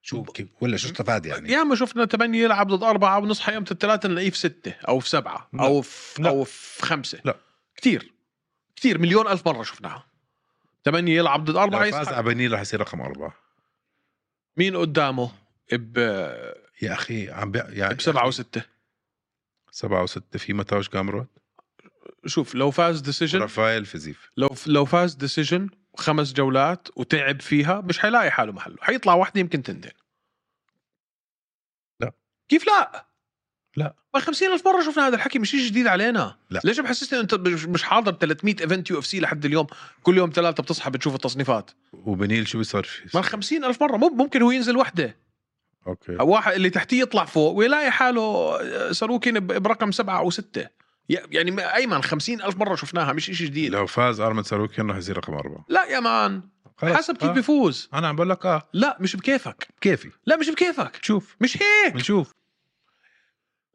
[SPEAKER 2] شو كيف- ولا شو استفاد يعني
[SPEAKER 1] ياما شفنا ثمانية يلعب ضد أربعة ونصحى يوم الثلاثة نلاقيه في ستة أو في سبعة
[SPEAKER 2] لا.
[SPEAKER 1] أو في
[SPEAKER 2] لا.
[SPEAKER 1] أو في خمسة
[SPEAKER 2] لا.
[SPEAKER 1] كتير كتير مليون ألف مرة شفناها ثمانية يلعب ضد
[SPEAKER 2] لو
[SPEAKER 1] أربعة
[SPEAKER 2] فاز على
[SPEAKER 1] يصحى
[SPEAKER 2] بنيل راح يصير رقم أربعة
[SPEAKER 1] مين قدامه ب...
[SPEAKER 2] يا أخي عم بي... يعني
[SPEAKER 1] بسبعة وستة
[SPEAKER 2] سبعة وستة في متاوش جامروت
[SPEAKER 1] شوف لو فاز ديسيجن
[SPEAKER 2] رافائيل فيزيف
[SPEAKER 1] لو لو فاز ديسيجن خمس جولات وتعب فيها مش حيلاقي حاله محله حيطلع واحدة يمكن تنتين
[SPEAKER 2] لا.
[SPEAKER 1] كيف لا؟
[SPEAKER 2] لا.
[SPEAKER 1] ما 50 ألف مرة شفنا هذا الحكي مش شيء جديد علينا
[SPEAKER 2] لا.
[SPEAKER 1] ليش محسسني انت مش مش حاضر 300 ايفنت يو اف سي لحد اليوم كل يوم ثلاثة بتصحى بتشوف التصنيفات
[SPEAKER 2] وبنيل شو بيصير فيه؟
[SPEAKER 1] ما 50 ألف مرة مو ممكن هو ينزل وحده
[SPEAKER 2] اوكي
[SPEAKER 1] أو واحد اللي تحتيه يطلع فوق ويلاقي حاله ساروكين ب- برقم سبعة أو ستة يعني ما- أيمن 50 ألف مرة شفناها مش شيء جديد
[SPEAKER 2] لو فاز ارمن ساروكيان رح يصير رقم اربعه
[SPEAKER 1] لا يا مان
[SPEAKER 2] خلص.
[SPEAKER 1] حسب كيف
[SPEAKER 2] آه.
[SPEAKER 1] بيفوز
[SPEAKER 2] انا عم بقول لك اه
[SPEAKER 1] لا مش بكيفك
[SPEAKER 2] كيفي
[SPEAKER 1] لا مش بكيفك
[SPEAKER 2] شوف
[SPEAKER 1] مش هيك
[SPEAKER 2] بنشوف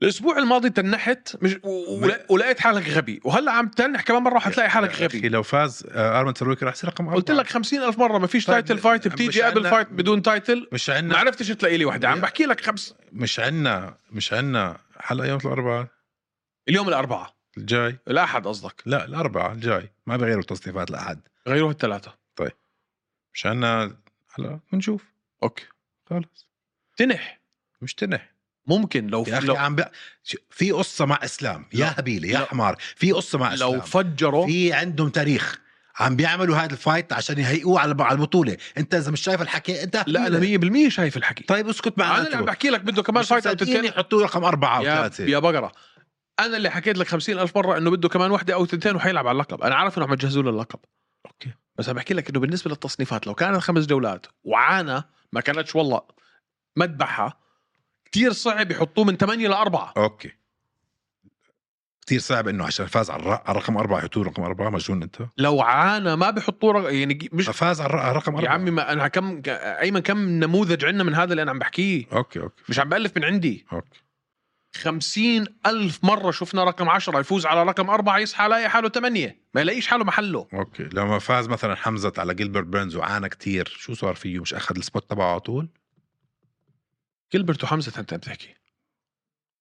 [SPEAKER 1] الاسبوع الماضي تنحت مش و- ولا- ولقيت حالك غبي وهلا عم تنح كمان مره حتلاقي حالك
[SPEAKER 2] يا أخي
[SPEAKER 1] غبي
[SPEAKER 2] لو فاز آه، ارمن ساروكيان رح يصير رقم اربعه
[SPEAKER 1] قلت لك خمسين ألف مرة ما فيش
[SPEAKER 2] طيب،
[SPEAKER 1] تايتل فايت
[SPEAKER 2] مش نعم.
[SPEAKER 1] بتيجي قبل
[SPEAKER 2] عنا-
[SPEAKER 1] فايت بدون تايتل
[SPEAKER 2] مش
[SPEAKER 1] ما
[SPEAKER 2] عندنا
[SPEAKER 1] عرفتش تلاقي لي واحدة عم بحكي لك خمس
[SPEAKER 2] مش عندنا مش عندنا حلقه يوم الاربعاء
[SPEAKER 1] اليوم الأربعة
[SPEAKER 2] الجاي
[SPEAKER 1] الأحد قصدك
[SPEAKER 2] لا الاربعاء الجاي ما بغيروا تصنيفات الاحد
[SPEAKER 1] غيروها الثلاثة
[SPEAKER 2] مش عندنا حلقه بنشوف
[SPEAKER 1] أوكي
[SPEAKER 2] خلص
[SPEAKER 1] تنح
[SPEAKER 2] مش تنح
[SPEAKER 1] ممكن لو
[SPEAKER 2] يا اخي
[SPEAKER 1] لو,
[SPEAKER 2] عم بق... شو- في قصه مع اسلام
[SPEAKER 1] لا.
[SPEAKER 2] يا هبيله
[SPEAKER 1] لا.
[SPEAKER 2] يا حمار في قصه مع اسلام
[SPEAKER 1] لو فجروا
[SPEAKER 3] في عندهم تاريخ عم بيعملوا هذا الفايت عشان يهيئوه على على البطوله انت اذا مش شايف الحكي انت
[SPEAKER 1] لا أنا 100% شايف الحكي
[SPEAKER 3] طيب اسكت
[SPEAKER 1] أنا اللي عم
[SPEAKER 3] معناته
[SPEAKER 1] بحكي لك بده كمان
[SPEAKER 3] مش
[SPEAKER 1] فايت أو
[SPEAKER 3] مصدقيني
[SPEAKER 1] تنتين
[SPEAKER 3] حطوه رقم اربعه
[SPEAKER 1] يا
[SPEAKER 3] وثلاثه
[SPEAKER 1] يا بقرة أنا اللي حكيت لك خمسين ألف مرة إنه بده كمان واحدة أو تنتين وحيلعب على اللقب أنا عارف إنهم عم يجهزوا له اللقب
[SPEAKER 2] اوكي
[SPEAKER 1] بس عم بحكي لك انه بالنسبه للتصنيفات لو كانت خمس جولات وعانى ما كانتش والله مذبحه كثير صعب يحطوه من ثمانيه لاربعه
[SPEAKER 2] اوكي كثير صعب انه عشان فاز على الر- على رقم اربعه يحطوه رقم اربعه مجنون انت
[SPEAKER 1] لو عانى ما بيحطوه رغ... يعني مش
[SPEAKER 2] فاز على الر- على رقم اربعه
[SPEAKER 1] يا عمي ما انا كم ك- ايمن كم نموذج عندنا من هذا اللي انا عم بحكيه
[SPEAKER 2] اوكي اوكي
[SPEAKER 1] مش عم بالف من عندي
[SPEAKER 2] اوكي
[SPEAKER 1] خمسين ألف مرة شفنا رقم عشرة يفوز على رقم أربعة يصحى لاقي حاله ثمانية ما يلاقيش حاله محله
[SPEAKER 2] اوكي لما فاز مثلا حمزه على جيلبرت بيرنز وعانى كتير شو صار فيه مش اخذ السبوت تبعه على طول
[SPEAKER 1] جيلبرت وحمزة أنت عم تحكي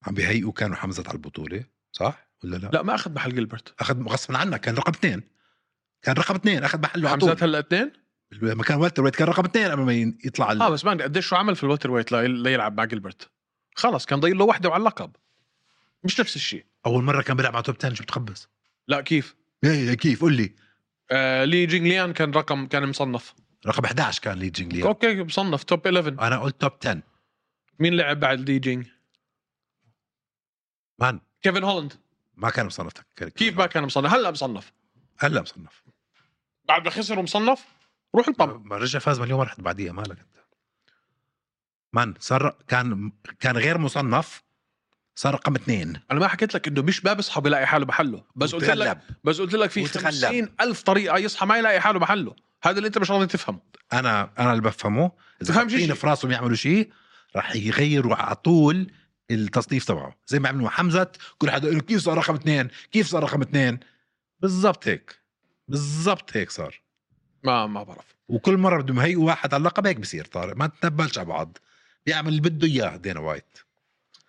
[SPEAKER 2] عم بيهيئوا كانوا حمزه على البطوله صح ولا لا,
[SPEAKER 1] لا ما أخذ محل جيلبرت
[SPEAKER 2] اخذ غصبا عنك كان رقم اثنين كان رقم اثنين اخذ محله على
[SPEAKER 1] حمزة
[SPEAKER 2] طول
[SPEAKER 1] هلا اثنين
[SPEAKER 2] لما كان والتر ويت كان رقم اثنين قبل ما ين- يطلع على
[SPEAKER 1] اه إيه؟ بس مان قديش شو عمل في الوتر ويت لي- ليلعب مع جلبرت خلص كان ضايل له وحده وعلى اللقب مش نفس الشيء
[SPEAKER 2] اول مره كان بيلعب على توب 10 شو بتخبص
[SPEAKER 1] لا كيف
[SPEAKER 3] إيه، كيف قول لي
[SPEAKER 1] آه لي جينغليان كان رقم كان مصنف
[SPEAKER 3] رقم 11 كان لي جينجلي
[SPEAKER 1] اوكي مصنف توب 11
[SPEAKER 3] انا قلت توب 10
[SPEAKER 1] مين لعب بعد لي جينغ
[SPEAKER 2] مان
[SPEAKER 1] كيفن هولند
[SPEAKER 2] ما كان مصنف كان-
[SPEAKER 1] كيف ما كان مصنف هلا مصنف
[SPEAKER 2] هلا مصنف
[SPEAKER 1] بعد ما خسر ومصنف روح البمب
[SPEAKER 2] ما رجع فاز مليون مره بعديها مالك انت مان صار كان كان غير مصنف صار رقم اثنين
[SPEAKER 1] انا ما حكيت لك انه مش باب يصحى بيلاقي حاله محله بس قلت لك
[SPEAKER 3] وتغلب.
[SPEAKER 1] بس قلت لك في
[SPEAKER 3] وتغلب.
[SPEAKER 1] 50 ألف طريقه يصحى ما يلاقي حاله محله هذا اللي انت مش راضي تفهمه
[SPEAKER 2] انا انا اللي بفهمه اذا
[SPEAKER 1] تفهم شي
[SPEAKER 2] حاطين
[SPEAKER 1] شي.
[SPEAKER 2] في راسهم يعملوا شيء راح يغيروا على طول التصنيف تبعه زي ما عملوا مع حمزه كل حدا يقول له كيف صار رقم اثنين كيف صار رقم اثنين بالضبط هيك بالضبط هيك صار
[SPEAKER 1] ما ما بعرف
[SPEAKER 2] وكل مره بدهم يهيئوا واحد على اللقب هيك بصير طارق ما تنبلش على بعض بيعمل اللي بده اياه دينا وايت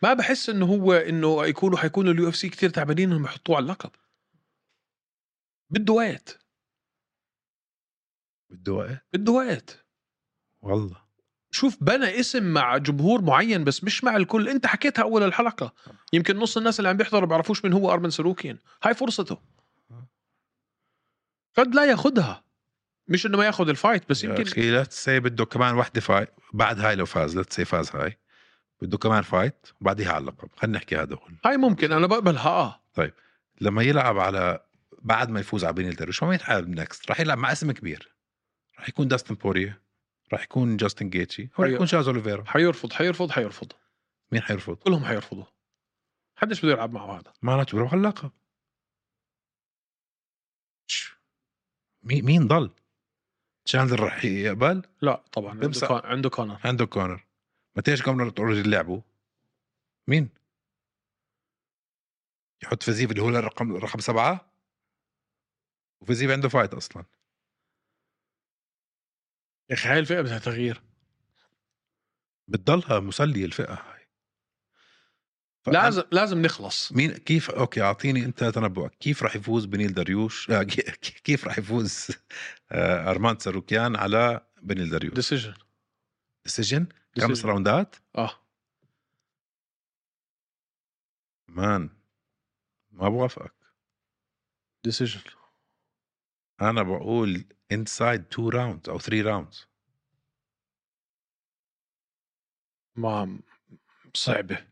[SPEAKER 1] ما بحس انه هو انه يكونوا حيكونوا اليو اف سي كثير تعبانين انهم يحطوه على اللقب بده وقت
[SPEAKER 2] بده وقت
[SPEAKER 1] بده وقت
[SPEAKER 2] والله
[SPEAKER 1] شوف بنى اسم مع جمهور معين بس مش مع الكل انت حكيتها اول الحلقه يمكن نص الناس اللي عم بيحضروا بيعرفوش من هو ارمن سلوكيان هاي فرصته قد لا ياخذها مش انه ما ياخذ الفايت بس
[SPEAKER 2] يا
[SPEAKER 1] يمكن
[SPEAKER 2] اخي لا تسي بده كمان وحده فايت بعد هاي لو فاز لا تسي فاز هاي بده كمان فايت وبعديها على اللقب خلينا نحكي هذا هو
[SPEAKER 1] هاي ممكن انا بقبلها اه
[SPEAKER 2] لما يلعب على بعد ما يفوز على بينيل درويش ما يلعب نكست راح يلعب مع اسم كبير راح يكون داستن بوريا راح يكون جاستن جيتشي راح
[SPEAKER 1] أيوة.
[SPEAKER 2] يكون شاز اوليفيرا
[SPEAKER 1] حيرفض حيرفض حيرفض
[SPEAKER 2] مين حيرفض
[SPEAKER 1] كلهم حيرفضوا حدش بده يلعب معه هذا
[SPEAKER 2] معناته بيروح على اللقب شو؟ مين مين ضل تشاندلر راح يقبل
[SPEAKER 1] لا طبعا عنده,
[SPEAKER 2] بمسح.
[SPEAKER 1] كون... عنده كونر
[SPEAKER 2] عنده كونر ماتيش كونر اوريدي لعبوا مين يحط فزيف اللي هو الرقم رقم سبعة وفزيف عنده فايت اصلا
[SPEAKER 1] يا اخي هاي الفئه بدها تغيير
[SPEAKER 2] بتضلها مسلية الفئة هاي فأنا-
[SPEAKER 1] لازم لازم نخلص
[SPEAKER 2] مين كيف اوكي اعطيني انت تنبؤك كيف راح يفوز بنيل دريوش آه، كي- كيف راح يفوز آه، ارمان ساروكيان على بنيل دريوش
[SPEAKER 1] ديسيجن
[SPEAKER 2] ديسيجن خمس راوندات
[SPEAKER 1] اه
[SPEAKER 2] مان ما بوافقك
[SPEAKER 1] ديسيجن
[SPEAKER 2] انا بقول انسايد 2 راوندز او 3 راوندز
[SPEAKER 1] ما صعبه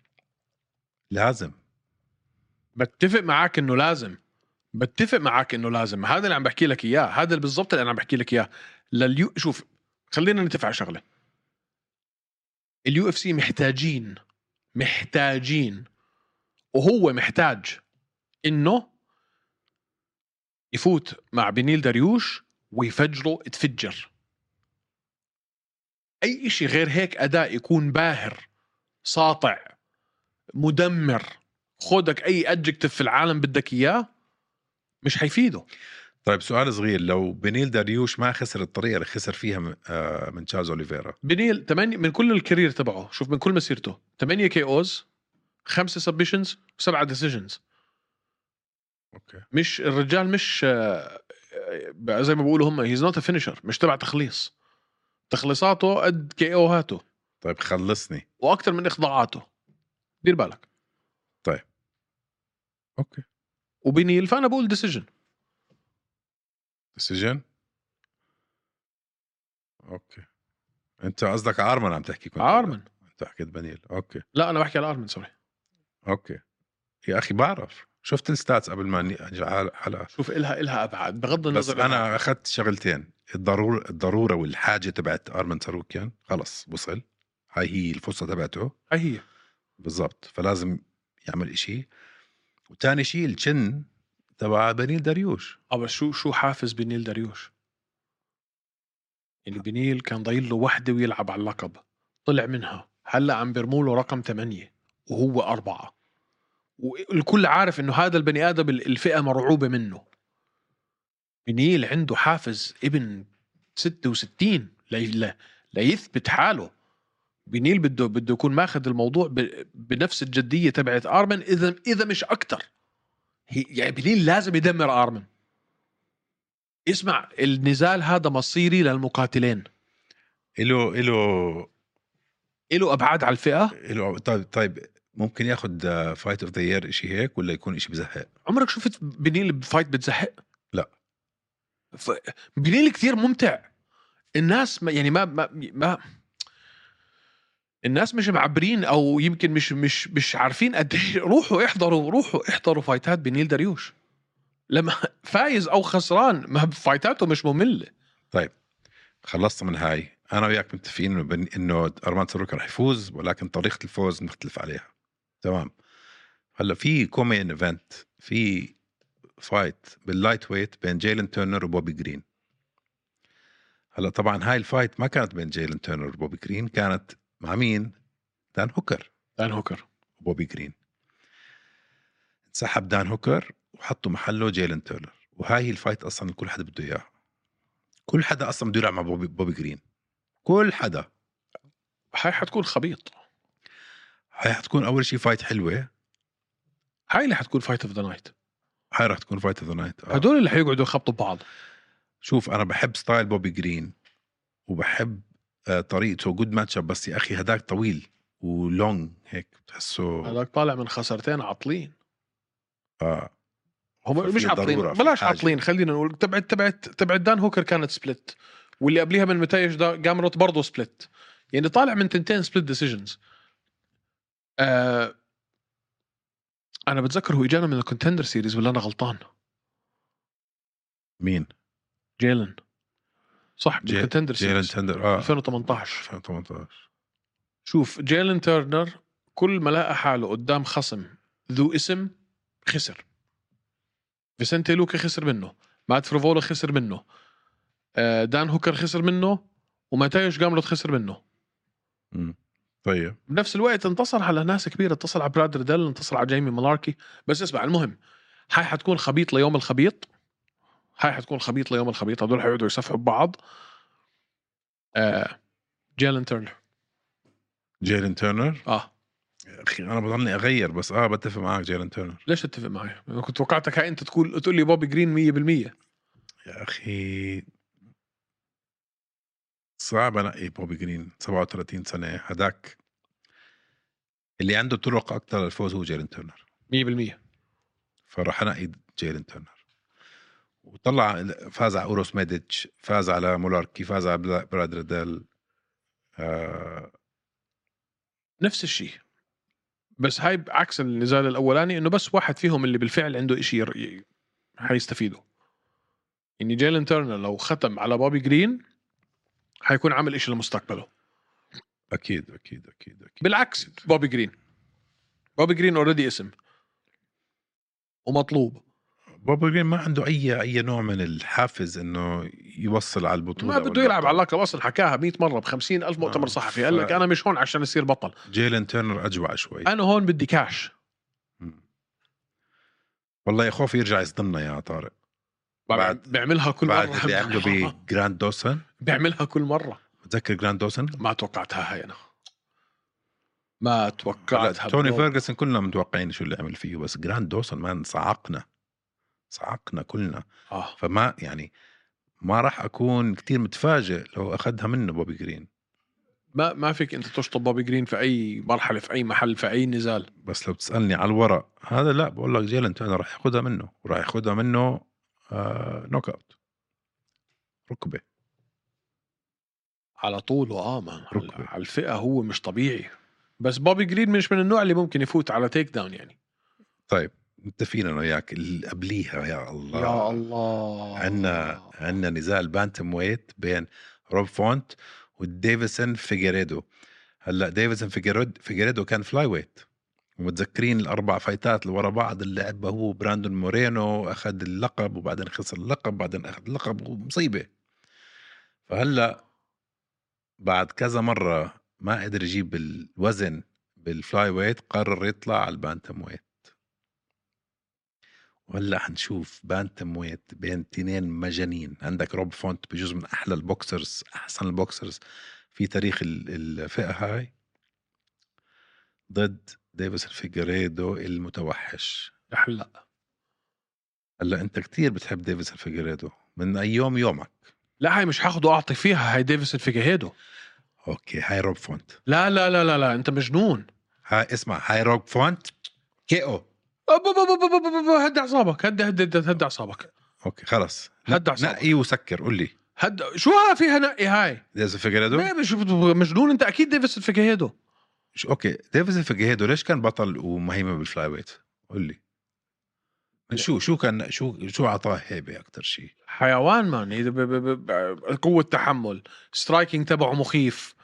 [SPEAKER 2] لازم
[SPEAKER 1] بتفق معك انه لازم بتفق معك انه لازم هذا اللي عم بحكي لك اياه هذا اللي بالضبط اللي انا عم بحكي لك اياه لليو شوف خلينا نتفق على شغله اليو اف سي محتاجين محتاجين وهو محتاج انه يفوت مع بنيل دريوش ويفجره تفجر اي شيء غير هيك اداء يكون باهر ساطع مدمر خودك اي ادجكتيف في العالم بدك اياه مش حيفيده
[SPEAKER 2] طيب سؤال صغير لو بنيل داريوش ما خسر الطريقه اللي خسر فيها من, آه من تشارلز اوليفيرا
[SPEAKER 1] بنيل 8 من كل الكارير تبعه شوف من كل مسيرته 8 كي اوز 5 سبشنز وسبعة ديسيجنز
[SPEAKER 2] اوكي
[SPEAKER 1] مش الرجال مش آه، آه، زي ما بيقولوا هم هيز نوت فينيشر مش تبع تخليص تخليصاته قد كي اوهاته
[SPEAKER 2] طيب خلصني
[SPEAKER 1] واكثر من اخضاعاته دير بالك
[SPEAKER 2] اوكي
[SPEAKER 1] وبنيل فانا بقول ديسيجن
[SPEAKER 2] ديسيجن اوكي انت قصدك على ارمن عم تحكي كنت
[SPEAKER 1] ارمن
[SPEAKER 2] انت حكيت بنيل اوكي
[SPEAKER 1] لا انا بحكي على ارمن سوري
[SPEAKER 2] اوكي يا اخي بعرف شفت الستاتس قبل ما ني- أجي على الحلقه
[SPEAKER 1] شوف الها الها ابعاد بغض
[SPEAKER 2] بس
[SPEAKER 1] النظر
[SPEAKER 2] انا اخذت شغلتين الضروره الضروره والحاجه تبعت ارمن ساروكيان خلص وصل هاي هي الفرصه تبعته
[SPEAKER 1] هاي هي
[SPEAKER 2] بالضبط فلازم يعمل إشي وتاني شيء الشن تبع بنيل دريوش
[SPEAKER 1] اه بس شو شو حافز بنيل داريوش؟ يعني بنيل كان ضايل له وحده ويلعب على اللقب طلع منها هلا عم بيرموا له رقم ثمانية وهو أربعة والكل عارف انه هذا البني ادم ال- الفئه مرعوبه منه بنيل عنده حافز ابن 66 لي- لا- ليثبت حاله بنيل بده بده يكون ماخذ الموضوع ب- بنفس الجديه تبعت ارمن اذا اذا مش اكثر يعني بنيل لازم يدمر ارمن اسمع النزال هذا مصيري للمقاتلين
[SPEAKER 2] له له
[SPEAKER 1] له ابعاد على الفئه
[SPEAKER 2] له طيب طيب ممكن ياخذ فايت اوف ذا يير شيء هيك ولا يكون شيء بزهق
[SPEAKER 1] عمرك شفت بنيل بفايت بتزحق؟
[SPEAKER 2] لا.
[SPEAKER 1] ف... بنيل كثير ممتع الناس ما يعني ما ما ما الناس مش معبرين او يمكن مش مش مش عارفين قد ايه روحوا احضروا روحوا احضروا فايتات بنيل داريوش لما فايز او خسران ما فايتاته مش ممله
[SPEAKER 2] خلصت من هاي انا وياك متفقين انه بن- انه ارمان ساروكا رح يفوز ولكن طريقه الفوز نختلف عليها تمام هلا في كومين ايفنت في فايت باللايت ويت بين جيلن تيرنر وبوبي جرين هلا طبعا هاي الفايت ما كانت بين جيلن تيرنر وبوبي جرين كانت مع مين؟ دان هوكر
[SPEAKER 1] دان هوكر
[SPEAKER 2] وبوبي جرين انسحب دان هوكر وحطوا محله جيلن تيرنر وهاي هي الفايت اصلا كل حدا بده اياها كل حدا اصلا بده يلعب مع بوبي, بوبي جرين كل حدا
[SPEAKER 1] هاي حتكون خبيط
[SPEAKER 2] هاي حتكون اول شيء فايت حلوه
[SPEAKER 1] هاي اللي حتكون فايت اوف ذا نايت
[SPEAKER 2] هاي رح تكون فايت اوف ذا نايت آه.
[SPEAKER 1] هدول اللي حيقعدوا يخبطوا بعض
[SPEAKER 2] شوف انا بحب ستايل بوبي جرين وبحب آه، طريقته جود ماتش اب بس يا اخي هداك طويل ولونج هيك بتحسه
[SPEAKER 1] هذاك طالع من خسرتين عاطلين
[SPEAKER 2] آاه
[SPEAKER 1] هم
[SPEAKER 2] ففي
[SPEAKER 1] مش عاطلين
[SPEAKER 2] ضرورة، في
[SPEAKER 1] بلاش
[SPEAKER 2] حاجة.
[SPEAKER 1] عاطلين خلينا نقول تبعت تبعت تبعت دان هوكر كانت سبلت واللي قبليها من متايش دا جامروت برضه سبلت يعني طالع من تنتين سبلت ديسيجنز آه انا بتذكر هو اجانا من الكونتندر سيريز ولا انا غلطان
[SPEAKER 2] مين؟
[SPEAKER 1] جيلن صح
[SPEAKER 2] جي-
[SPEAKER 1] بالكونتندر
[SPEAKER 2] جيلن
[SPEAKER 1] سيريز
[SPEAKER 2] تندر اه
[SPEAKER 1] 2018
[SPEAKER 2] 2018
[SPEAKER 1] شوف جيلن تيرنر كل ما لقى حاله قدام خصم ذو اسم خسر فيسنتي لوكا خسر منه مات فروفولا خسر منه آه، دان هوكر خسر منه وماتايوش جاملوت خسر منه
[SPEAKER 2] مم. طيب
[SPEAKER 1] بنفس الوقت انتصر على ناس كبيره انتصر على براد ريدل انتصر على جيمي ملاركي بس اسمع المهم هاي حتكون خبيط ليوم الخبيط هاي حتكون خبيط ليوم الخبيط هدول حيقعدوا يصفحوا ببعض آه جيلن تيرنر
[SPEAKER 2] جيلن تيرنر
[SPEAKER 1] اه
[SPEAKER 2] اخي انا بضلني اغير بس اه بتفق معك جيلن تيرنر
[SPEAKER 1] ليش اتفق معي؟ أنا كنت توقعتك هاي انت تقول تقول لي بوبي جرين 100%
[SPEAKER 2] يا اخي صعب انقي بوبي جرين 37 سنه هداك اللي عنده طرق اكثر للفوز هو جيلن تيرنر
[SPEAKER 1] 100%
[SPEAKER 2] فراح انقي جيلن تيرنر وطلع فاز على اوروس ميديتش فاز على مولاركي فاز على بلا- براد ريدل آه
[SPEAKER 1] نفس الشيء بس هاي عكس النزال الاولاني انه بس واحد فيهم اللي بالفعل عنده شيء ي... حيستفيده يعني جيلن تيرنر لو ختم على بوبي جرين حيكون عامل شيء لمستقبله
[SPEAKER 2] اكيد اكيد اكيد اكيد
[SPEAKER 1] بالعكس بوبي جرين بوبي جرين اوريدي اسم ومطلوب
[SPEAKER 2] بوبي جرين ما عنده اي اي نوع من الحافز انه يوصل على البطوله
[SPEAKER 1] ما بده
[SPEAKER 2] ولا
[SPEAKER 1] يلعب على
[SPEAKER 2] بتاع.
[SPEAKER 1] اللقب اصلا حكاها 100 مره ب 50 الف مؤتمر
[SPEAKER 2] آه،
[SPEAKER 1] صحفي
[SPEAKER 2] ف- إيه.
[SPEAKER 1] قال لك انا مش هون عشان اصير بطل
[SPEAKER 2] جيلن تيرنر اجوع شوي
[SPEAKER 1] انا هون بدي كاش
[SPEAKER 2] مم. والله يا خوف يرجع يصدمنا يا طارق بعد-
[SPEAKER 1] بعد بيعملها كل
[SPEAKER 2] بعد
[SPEAKER 1] مره
[SPEAKER 2] اللي عمله بجراند دوسن
[SPEAKER 1] بيعملها كل مره
[SPEAKER 2] بتذكر جراند دوسن
[SPEAKER 1] ما توقعتها هاي انا ما
[SPEAKER 2] هلا
[SPEAKER 1] توقعتها
[SPEAKER 2] توني
[SPEAKER 1] بالمره.
[SPEAKER 2] فيرجسون كلنا متوقعين شو اللي عمل فيه بس جراند دوسن مان صعقنا صعقنا كلنا
[SPEAKER 1] اه
[SPEAKER 2] فما يعني ما راح اكون كتير متفاجئ لو اخذها منه بوبي جرين
[SPEAKER 1] ما ما فيك انت تشطب بوبي جرين في اي مرحله في اي محل في اي نزال
[SPEAKER 2] بس لو بتسالني على الورق هذا لا بقول لك جيلن تيرنر راح ياخذها منه وراح ياخذها منه آه نوك اوت ركبه
[SPEAKER 1] على طول واه ما على
[SPEAKER 2] ركبة.
[SPEAKER 1] على الفئه هو مش طبيعي بس بوبي جرين مش من النوع اللي ممكن يفوت على تيك داون يعني
[SPEAKER 2] طيب متفقين انا وياك اللي قبليها يا الله
[SPEAKER 1] يا الله
[SPEAKER 2] عندنا عندنا نزال بانتم ويت بين روب فونت وديفيسون فيجيريدو هلا ديفيسون فيجيريد- فيجيريدو كان فلاي ويت ومتذكرين الاربع فايتات اللي ورا بعض اللي لعبها هو براندون مورينو اخذ اللقب وبعدين خسر اللقب بعدين اخذ اللقب ومصيبه فهلا بعد كذا مره ما قدر يجيب الوزن بالفلاي ويت قرر يطلع على البانتم ويت وهلا حنشوف بانتم ويت بين تنين مجانين عندك روب فونت بجزء من احلى البوكسرز احسن البوكسرز في تاريخ ال- الفئه هاي ضد ديفيس الفيجريدو المتوحش
[SPEAKER 1] هلا
[SPEAKER 2] هلا انت كتير بتحب ديفيس الفيجريدو من ايام يومك
[SPEAKER 1] لا هاي مش هاخده اعطي فيها هاي ديفيسون فيجاهيدو
[SPEAKER 2] اوكي هاي روب فونت
[SPEAKER 1] لا لا لا لا لا انت مجنون
[SPEAKER 3] هاي اسمع هاي روك فونت كي او
[SPEAKER 1] أب- أب- أب- أب- أب- أب- هدي اعصابك هدي هدي هدي هدي اعصابك
[SPEAKER 2] اوكي خلص
[SPEAKER 1] هدي اعصابك
[SPEAKER 2] نقي وسكر قول لي
[SPEAKER 1] هدي شو ها فيها نقي إيه، هاي؟
[SPEAKER 2] ديفيز فيجريدو
[SPEAKER 1] ليه مش مجنون انت اكيد ديفيس فيكيهيدو
[SPEAKER 2] شو- اوكي ديفيز فيجريدو ليش كان بطل ومهيمه بالفلاي ويت قول لي شو شو كان شو شو اعطاه هيبه اكثر شيء
[SPEAKER 1] حيوان مان إذا ب- ب- ب- قوة تحمل سترايكينج تبعه مخيف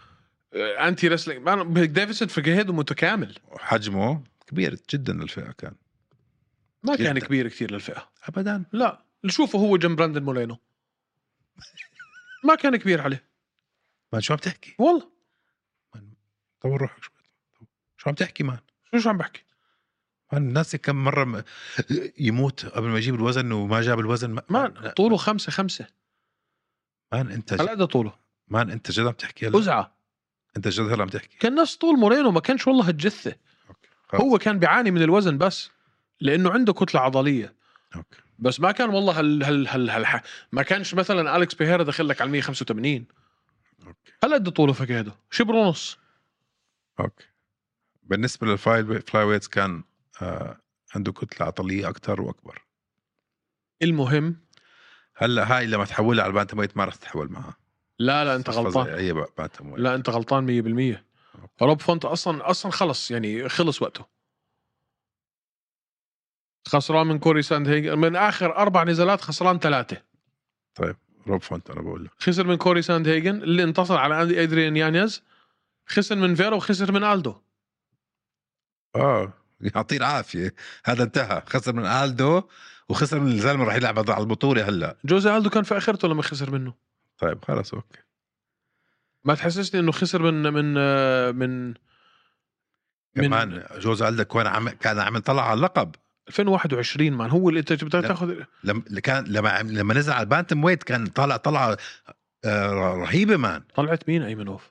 [SPEAKER 1] آه، انتي رسلينج مان ديفيس فيكيهيدو متكامل
[SPEAKER 2] وحجمه كبير جدا للفئه كان
[SPEAKER 1] ما كان
[SPEAKER 2] جداً.
[SPEAKER 1] كبير كثير للفئة
[SPEAKER 2] ابدا
[SPEAKER 1] لا اللي شوفه هو جنب براندن مولينو ما كان كبير عليه
[SPEAKER 2] ما شو عم تحكي
[SPEAKER 1] والله
[SPEAKER 2] طور روحك شوي شو عم تحكي مان
[SPEAKER 1] شو شو عم بحكي
[SPEAKER 2] مان ناسي كم مره م... يموت قبل ما يجيب الوزن وما جاب الوزن ما...
[SPEAKER 1] مان طوله خمسة خمسة
[SPEAKER 2] مان انت
[SPEAKER 1] على
[SPEAKER 2] جد...
[SPEAKER 1] قد طوله
[SPEAKER 2] مان انت جد عم تحكي هلا
[SPEAKER 1] أزعة
[SPEAKER 2] انت جد هلا عم تحكي
[SPEAKER 1] كان نفس طول مورينو ما كانش والله هالجثة
[SPEAKER 2] اوكي خلص.
[SPEAKER 1] هو كان بيعاني من الوزن بس لأنه عنده كتلة عضلية
[SPEAKER 2] اوكي
[SPEAKER 1] بس ما كان والله هال هال هال, هال ما كانش مثلا أليكس بيهيرا دخل لك على 185
[SPEAKER 2] اوكي
[SPEAKER 1] هلا قد طوله فكادو شبر ونص
[SPEAKER 2] اوكي بالنسبه للفايل فلاي ويتس كان آه عنده كتله عضليه اكثر واكبر
[SPEAKER 1] المهم
[SPEAKER 2] هلا هاي لما تحولها على البانتم ويت ما رح تتحول معها
[SPEAKER 1] لا لا انت غلطان
[SPEAKER 2] اي بانتم ويت
[SPEAKER 1] لا انت غلطان 100% روب فونت اصلا اصلا خلص يعني خلص وقته خسران من كوري ساند هيج من اخر اربع نزالات خسران ثلاثه
[SPEAKER 2] روب فونت انا بقول لك
[SPEAKER 1] خسر من كوري ساند هيجن اللي انتصر على أندي- ادريان يانيز خسر من فيرا وخسر من الدو
[SPEAKER 2] اه يعطيه العافيه هذا انتهى خسر من الدو وخسر من الزلمه رح يلعب على البطوله هلا
[SPEAKER 1] جوزي الدو كان في اخرته لما خسر منه
[SPEAKER 2] طيب خلص اوكي
[SPEAKER 1] ما تحسسني انه خسر من من آه، من من-
[SPEAKER 2] كمان جوز عندك كان عم كان عم يطلع على اللقب
[SPEAKER 1] 2021 مان هو اللي انت بدك
[SPEAKER 2] لا.
[SPEAKER 1] تاخذ
[SPEAKER 2] لما كان لما عم- لما نزل على البانتم ويت كان طالع طلعه آه، رهيبه مان
[SPEAKER 1] طلعت مين ايمنوف؟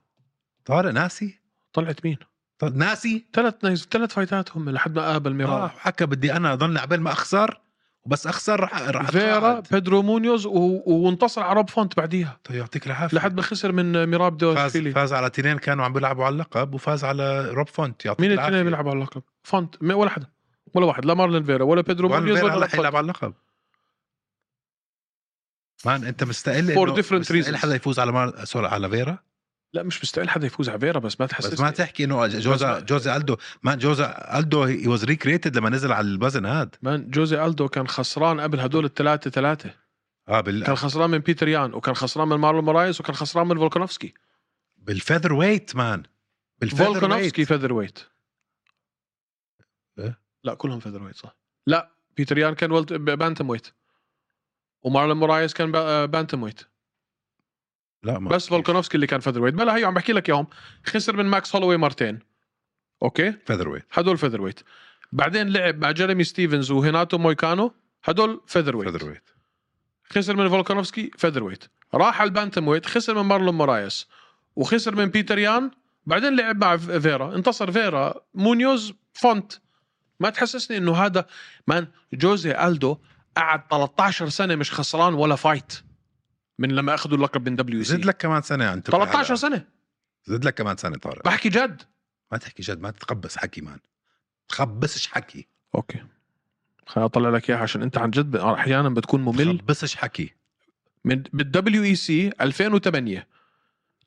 [SPEAKER 2] طارق ناسي
[SPEAKER 1] طلعت مين؟
[SPEAKER 2] طارق ناسي
[SPEAKER 1] ثلاث نيز ثلاث فايتات هم لحد ما قابل
[SPEAKER 2] اه
[SPEAKER 1] ميرا
[SPEAKER 2] حكى بدي انا اضل عبال ما اخسر وبس اخسر رح رح
[SPEAKER 1] فيرا
[SPEAKER 2] أتقاعد.
[SPEAKER 1] بيدرو مونيوز و... وانتصر على روب فونت بعديها
[SPEAKER 2] طيب يعطيك العافيه
[SPEAKER 1] لحد ما خسر من ميراب
[SPEAKER 2] فاز
[SPEAKER 1] دوشفيلي
[SPEAKER 2] فاز على تنين كانوا عم بيلعبوا على اللقب وفاز على روب فونت يعطيك
[SPEAKER 1] مين الاثنين
[SPEAKER 2] العافيه
[SPEAKER 1] اللي بيلعبوا على اللقب؟ فونت م- ولا حدا ولا واحد لا مارلين فيرا ولا بيدرو
[SPEAKER 2] وأنا
[SPEAKER 1] مونيوز
[SPEAKER 2] فيرا
[SPEAKER 1] ولا
[SPEAKER 2] هلا
[SPEAKER 1] روب فونت.
[SPEAKER 2] حيلعب على اللقب مان انت مستقل
[SPEAKER 1] For
[SPEAKER 2] إنه-
[SPEAKER 1] different
[SPEAKER 2] مستقل
[SPEAKER 1] reasons.
[SPEAKER 2] حدا يفوز على مار... سوري على فيرا
[SPEAKER 1] لا مش مستاهل حدا يفوز على فيرا بس ما تحسسني
[SPEAKER 2] بس ما تحكي انه جوزا
[SPEAKER 1] ما-
[SPEAKER 2] جوزا الدو ما جوزا الدو هي واز ريكريتد لما نزل على الوزن هاد
[SPEAKER 1] مان جوزي الدو كان خسران قبل هدول الثلاثه ثلاثه
[SPEAKER 2] اه بال...
[SPEAKER 1] كان خسران من بيتر يان وكان خسران من مارلون مورايز وكان خسران من فولكانوفسكي
[SPEAKER 2] بالفيذر ويت مان بالفيذر
[SPEAKER 1] فولكانوفسكي
[SPEAKER 2] ويت
[SPEAKER 1] فيذر ويت
[SPEAKER 2] إيه؟
[SPEAKER 1] لا كلهم فيذر ويت صح لا بيتر يان كان ولت ب- بانتم ويت ومارلون مورايز كان ب- آه، بانتم ويت
[SPEAKER 2] لا ما
[SPEAKER 1] بس فولكانوفسكي اللي كان فيذر ويت بلا هي عم بحكي لك اياهم خسر من ماكس هولوي مرتين اوكي
[SPEAKER 2] فيذر ويت
[SPEAKER 1] هدول فيذر ويت بعدين لعب مع جيريمي ستيفنز وهيناتو مويكانو هدول فيذر ويت
[SPEAKER 2] فيذر ويت
[SPEAKER 1] خسر من فولكانوفسكي فيذر ويت راح على البانتم ويت خسر من مارلون مورايس وخسر من بيتر يان بعدين لعب مع ف- فيرا انتصر فيرا مونيوز فونت ما تحسسني انه هذا مان جوزي الدو قعد 13 سنه مش خسران ولا فايت من لما اخذوا اللقب من دبليو سي
[SPEAKER 2] زد لك كمان سنه انت
[SPEAKER 1] 13 سنه
[SPEAKER 2] زد لك كمان سنه طارق
[SPEAKER 1] بحكي جد
[SPEAKER 2] ما تحكي جد ما تتقبس حكي مان تخبصش حكي
[SPEAKER 1] اوكي خليني اطلع لك اياها عشان انت عن جد ب- احيانا بتكون ممل
[SPEAKER 2] تخبصش حكي
[SPEAKER 1] من بالدبليو اي سي 2008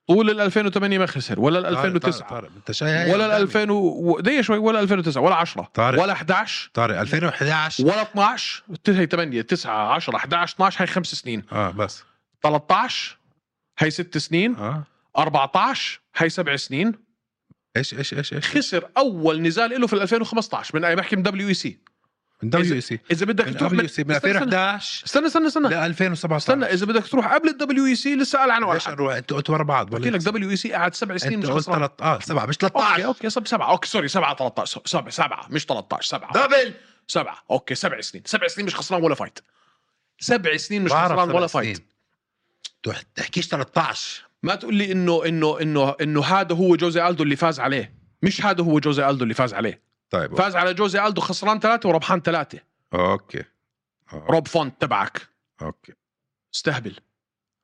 [SPEAKER 1] طول ال 2008 ما خسر ولا ال
[SPEAKER 2] طارق،
[SPEAKER 1] 2009
[SPEAKER 2] طارق، طارق، انت شايف
[SPEAKER 1] ولا ال 2000 و... دقيقه شوي ولا 2009 ولا 10
[SPEAKER 2] طارق.
[SPEAKER 1] ولا 11
[SPEAKER 2] طارق 2011
[SPEAKER 1] ولا 12 هي 8 9 10 11 12 هي خمس سنين
[SPEAKER 2] اه بس
[SPEAKER 1] 13 هي ست سنين
[SPEAKER 2] اه
[SPEAKER 1] 14 هي سبع سنين
[SPEAKER 2] ايش ايش ايش ايش
[SPEAKER 1] خسر اول نزال له في ال 2015 من اي بحكي من دبليو اي سي
[SPEAKER 2] من دبليو اي سي
[SPEAKER 1] اذا E بدك
[SPEAKER 2] من E
[SPEAKER 1] تروح من
[SPEAKER 2] دبليو سي من
[SPEAKER 1] استنى-
[SPEAKER 2] 2011
[SPEAKER 1] استنى استنى استنى
[SPEAKER 2] ل 2017
[SPEAKER 1] استنى اذا بدك تروح قبل الدبليو اي سي لسه قال عنه ولا
[SPEAKER 2] ليش
[SPEAKER 1] حد.
[SPEAKER 2] نروح انت قلت ورا بعض
[SPEAKER 1] بحكي لك دبليو اي سي قعد سبع سنين
[SPEAKER 2] انت
[SPEAKER 1] مش
[SPEAKER 2] قلت
[SPEAKER 1] خسران
[SPEAKER 2] 13 اه 7 مش
[SPEAKER 1] اوكي
[SPEAKER 2] 13
[SPEAKER 1] اوكي سب سبعه اوكي سوري سبعه 13 سبعه سبعه مش 13 سبعه
[SPEAKER 2] دبل
[SPEAKER 1] سبعة اوكي سبع سنين سبع سنين مش خسران ولا فايت سبع سنين مش خسران ولا فايت
[SPEAKER 2] ما تحكيش 13
[SPEAKER 1] ما تقول لي انه انه انه انه هذا هو جوزي الدو اللي فاز عليه مش هذا هو جوزي الدو اللي فاز عليه
[SPEAKER 2] طيب
[SPEAKER 1] فاز على جوزي الدو خسران ثلاثة وربحان ثلاثة
[SPEAKER 2] اوكي آه،
[SPEAKER 1] روب فونت تبعك
[SPEAKER 2] اوكي
[SPEAKER 1] استهبل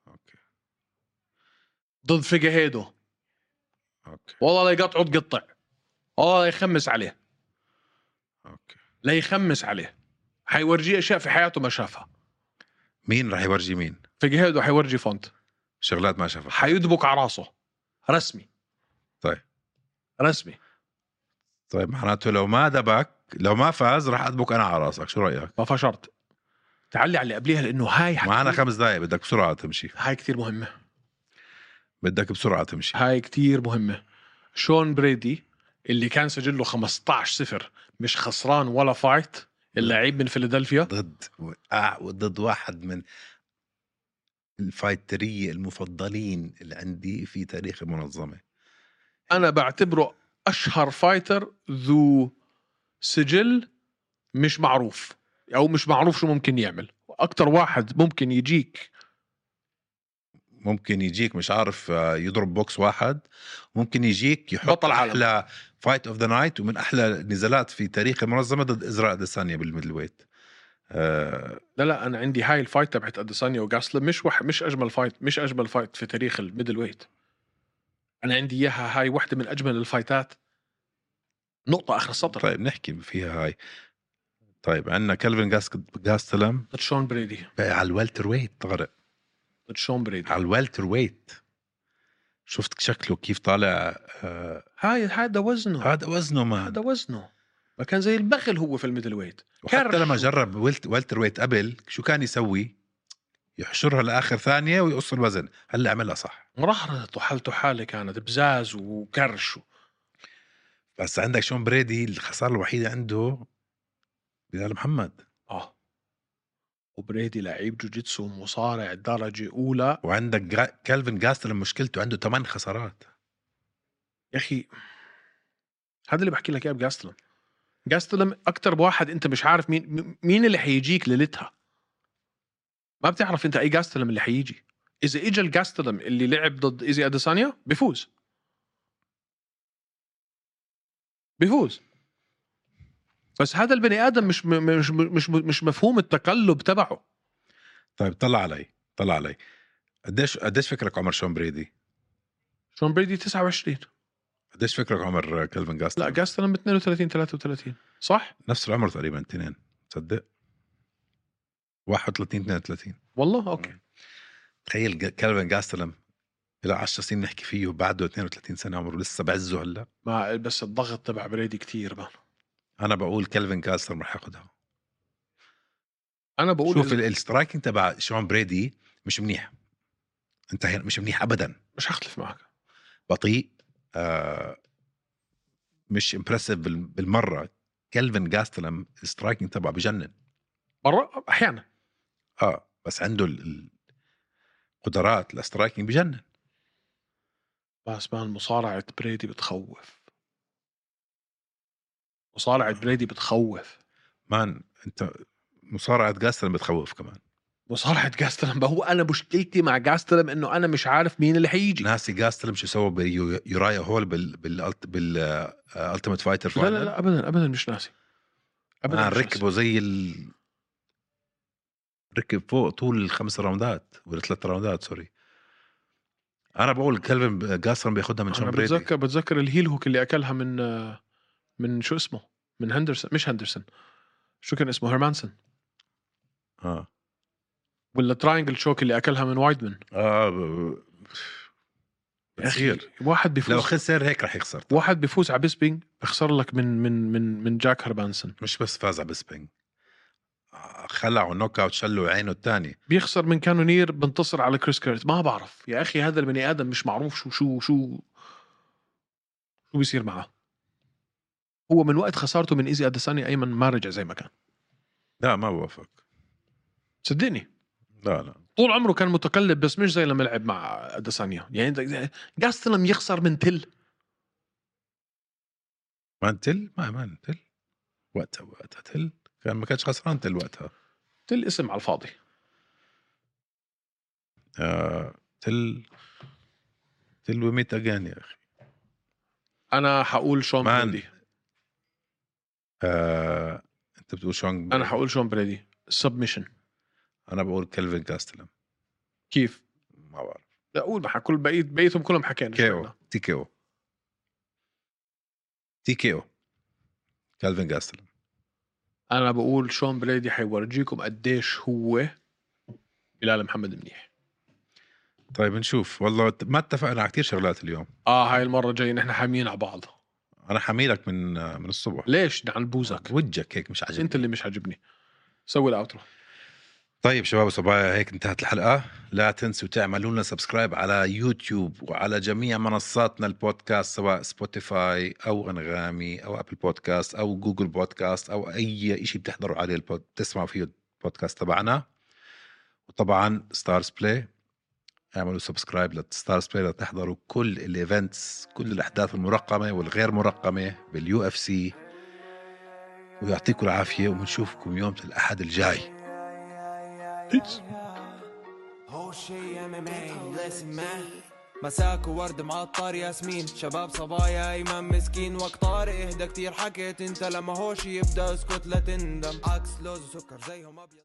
[SPEAKER 2] اوكي
[SPEAKER 1] ضد فيجاهيدو
[SPEAKER 2] اوكي
[SPEAKER 1] والله لا يقطعوا تقطع اه يخمس عليه
[SPEAKER 2] اوكي
[SPEAKER 1] لا يخمس عليه حيورجيه اشياء في حياته ما شافها
[SPEAKER 2] مين راح يورجي مين
[SPEAKER 1] فيجيهدو حيورجي فونت
[SPEAKER 2] شغلات ما شافها
[SPEAKER 1] حيدبك على راسه رسمي
[SPEAKER 2] طيب.
[SPEAKER 1] رسمي
[SPEAKER 2] طيب معناته لو ما دبك لو ما فاز راح ادبك انا على راسك شو رايك
[SPEAKER 1] ما فيها شرط تعلي على اللي قبليها لانه هاي حتكون-
[SPEAKER 2] معنا خمس دقائق بدك بسرعه تمشي
[SPEAKER 1] هاي كثير مهمه
[SPEAKER 2] بدك بسرعه تمشي
[SPEAKER 1] هاي كثير مهمه شون بريدي اللي كان سجله 15 0 مش خسران ولا فايت اللعيب من فيلادلفيا
[SPEAKER 2] ضد آه ضد واحد من الفايتريه المفضلين اللي عندي في تاريخ المنظمه
[SPEAKER 1] انا بعتبره اشهر فايتر ذو سجل مش معروف او مش معروف شو ممكن يعمل اكتر واحد ممكن يجيك
[SPEAKER 2] ممكن يجيك مش عارف آه، يضرب بوكس واحد ممكن يجيك يحط
[SPEAKER 1] بطل عالم.
[SPEAKER 2] احلى فايت اوف ذا نايت ومن احلى النزالات في تاريخ المنظمه ضد ازراء اديسانيا بالميدل ويت آه
[SPEAKER 1] لا لا انا عندي هاي الفايت تبعت اديسانيا وجاسلم مش وح... مش اجمل فايت مش اجمل فايت في تاريخ الميدل ويت انا عندي اياها هاي واحده من اجمل الفايتات نقطه اخر السطر
[SPEAKER 2] طيب نحكي فيها هاي طيب عندنا كلفن جاس جاستلم
[SPEAKER 1] ضد شون بريدي
[SPEAKER 2] على الوالتر ويت طارق
[SPEAKER 1] ضد شون بريدي
[SPEAKER 2] على الوالتر ويت شفت شكله كيف طالع آه
[SPEAKER 1] هاي هذا وزنه
[SPEAKER 2] هذا وزنه
[SPEAKER 1] نعم. هذا
[SPEAKER 2] ما
[SPEAKER 1] وزنه ما كان زي البخل هو في الميدل ويت
[SPEAKER 2] وحتى
[SPEAKER 1] كرش.
[SPEAKER 2] لما جرب والت- والتر ويت قبل شو كان يسوي يحشرها لاخر ثانيه ويقص الوزن هلا عملها صح
[SPEAKER 1] مرهرت وحالته حاله كانت بزاز وكرش
[SPEAKER 2] بس عندك شون بريدي الخساره الوحيده عنده بلال محمد
[SPEAKER 1] اه وبريدي لعيب جوجيتسو مصارع درجه اولى
[SPEAKER 2] وعندك جا- كالفن جاستلم مشكلته عنده ثمان خسارات
[SPEAKER 1] يا اخي هذا اللي بحكي لك اياه بجاستلم جاستلم اكتر واحد انت مش عارف مين م- مين اللي حيجيك ليلتها ما بتعرف انت اي جاستلم اللي حيجي اذا اجى الجاستلم اللي لعب ضد ايزي اديسانيا بيفوز بيفوز بس هذا البني ادم مش م- مش مش مش مفهوم التقلب تبعه
[SPEAKER 2] طيب طلع علي طلع علي قديش قديش فكرك عمر شون بريدي؟
[SPEAKER 1] شون بريدي 29
[SPEAKER 2] قديش فكرك عمر كالفن
[SPEAKER 1] لا
[SPEAKER 2] جاستلم؟
[SPEAKER 1] جاستلم 32 33 صح
[SPEAKER 2] نفس العمر تقريبا اثنين تصدق؟ 31 32
[SPEAKER 1] والله اوكي
[SPEAKER 2] تخيل جا- كالفن جاستلم الى 10 سنين نحكي فيه وبعده 32 سنه عمره لسه بعزه هلا
[SPEAKER 1] ما بس الضغط تبع بريدي كتير ما
[SPEAKER 2] انا بقول كالفن جاستلم رح ياخذها
[SPEAKER 1] انا بقول
[SPEAKER 2] شوف
[SPEAKER 1] شوف
[SPEAKER 2] ال- السترايكنج تبع شون بريدي مش منيح انت هنا مش منيح ابدا
[SPEAKER 1] مش هختلف معك
[SPEAKER 2] بطيء آه مش امبرسيف بالمره كلفن جاستلم السترايكنج تبعه بجنن
[SPEAKER 1] مرة احيانا
[SPEAKER 2] اه بس عنده ال- ال- قدرات السترايكنج بجنن
[SPEAKER 1] بس مان مصارعة بريدي بتخوف مصارعة بريدي بتخوف
[SPEAKER 2] مان انت مصارعه جاستلم بتخوف كمان
[SPEAKER 1] مصارعة جاستلم ما هو انا مشكلتي مع جاستلم انه انا مش عارف مين اللي حيجي
[SPEAKER 2] ناسي جاستلم شو سوى بيورايا هول بال بال آه، بالالتيميت فايتر
[SPEAKER 1] لا لا لا ابدا ابدا مش ناسي ابدا
[SPEAKER 2] آه
[SPEAKER 1] مش ناسي.
[SPEAKER 2] ركبه زي ال... ركب فوق طول الخمس راوندات ولا ثلاث راوندات سوري انا بقول كلفن جاستلم بياخدها من شون
[SPEAKER 1] انا
[SPEAKER 2] بريدي
[SPEAKER 1] بتذكر بتذكر الهيل هوك اللي اكلها من آه، من شو اسمه من هندرسون مش هندرسون شو كان اسمه هيرمانسون آه.
[SPEAKER 2] اه
[SPEAKER 1] ولا تراينجل شوك اللي اكلها من وايدمان
[SPEAKER 2] اه ب-
[SPEAKER 1] يا أخي،
[SPEAKER 2] بتصير
[SPEAKER 1] واحد
[SPEAKER 2] لو
[SPEAKER 1] بيفوز
[SPEAKER 2] خسر هيك رح يخسر
[SPEAKER 1] واحد بيفوز على بيسبينج بخسر لك من من من من جاك هربانسون
[SPEAKER 2] مش بس فاز على بسبينج خلعوا نوك اوت شلوا عينه الثاني
[SPEAKER 1] بيخسر من كانونير بنتصر على كريس كيرت ما بعرف يا اخي هذا البني ادم مش معروف شو شو شو شو بيصير معه هو من وقت خسارته من ايزي اديسانيا ايمن ما رجع زي ما كان
[SPEAKER 2] لا ما بوافق
[SPEAKER 1] صدقني
[SPEAKER 2] لا لا
[SPEAKER 1] طول عمره كان متقلب بس مش زي لما لعب مع اديسانيا يعني جاستلم يخسر من تل
[SPEAKER 2] ما تل ما ما تل وقتها وقتها تل كان ما كانش خسران تل وقتها
[SPEAKER 1] تل اسم على الفاضي
[SPEAKER 2] آه تل تل وميت اجان يا اخي
[SPEAKER 1] انا حقول شون
[SPEAKER 2] مان.
[SPEAKER 1] بريدي
[SPEAKER 2] آه، انت بتقول شون
[SPEAKER 1] انا حقول شون بريدي سبمشن
[SPEAKER 2] انا بقول كلفن جاستلم
[SPEAKER 1] كيف
[SPEAKER 2] ما بعرف
[SPEAKER 1] لا قول بح- كل بقيت بقيتهم كلهم حكينا
[SPEAKER 2] كيو تي كيو تي كي او كالفين جاستل
[SPEAKER 1] انا بقول شون بريدي حيورجيكم قديش هو بلال محمد منيح
[SPEAKER 2] طيب نشوف والله ت- ما اتفقنا على كثير شغلات اليوم
[SPEAKER 1] اه هاي المره الجايه نحن حاميين على بعض
[SPEAKER 2] انا حميلك من آه، من الصبح
[SPEAKER 1] ليش ده عن بوزك
[SPEAKER 2] وجهك هيك مش عاجبني
[SPEAKER 1] انت اللي مش عاجبني سوي الاوترو
[SPEAKER 2] طيب شباب وصبايا هيك انتهت الحلقة لا تنسوا تعملوا لنا سبسكرايب على يوتيوب وعلى جميع منصاتنا البودكاست سواء سبوتيفاي أو أنغامي أو أبل بودكاست أو جوجل بودكاست أو أي شيء بتحضروا عليه البود... بتسمعوا فيه البودكاست تبعنا وطبعا ستارز بلاي اعملوا سبسكرايب لستارز بلاي لتحضروا كل الايفنتس كل الاحداث المرقمه والغير مرقمه باليو اف سي ويعطيكم العافيه وبنشوفكم يوم الاحد الجاي
[SPEAKER 1] Peace.
[SPEAKER 4] هو شي ام ام اي ليسن مان مساك وورد معطر ياسمين شباب صبايا ايمن مسكين وقت طارق اهدى كتير حكيت انت لما هوش يبدا اسكت لا تندم عكس لوز وسكر زيهم ابيض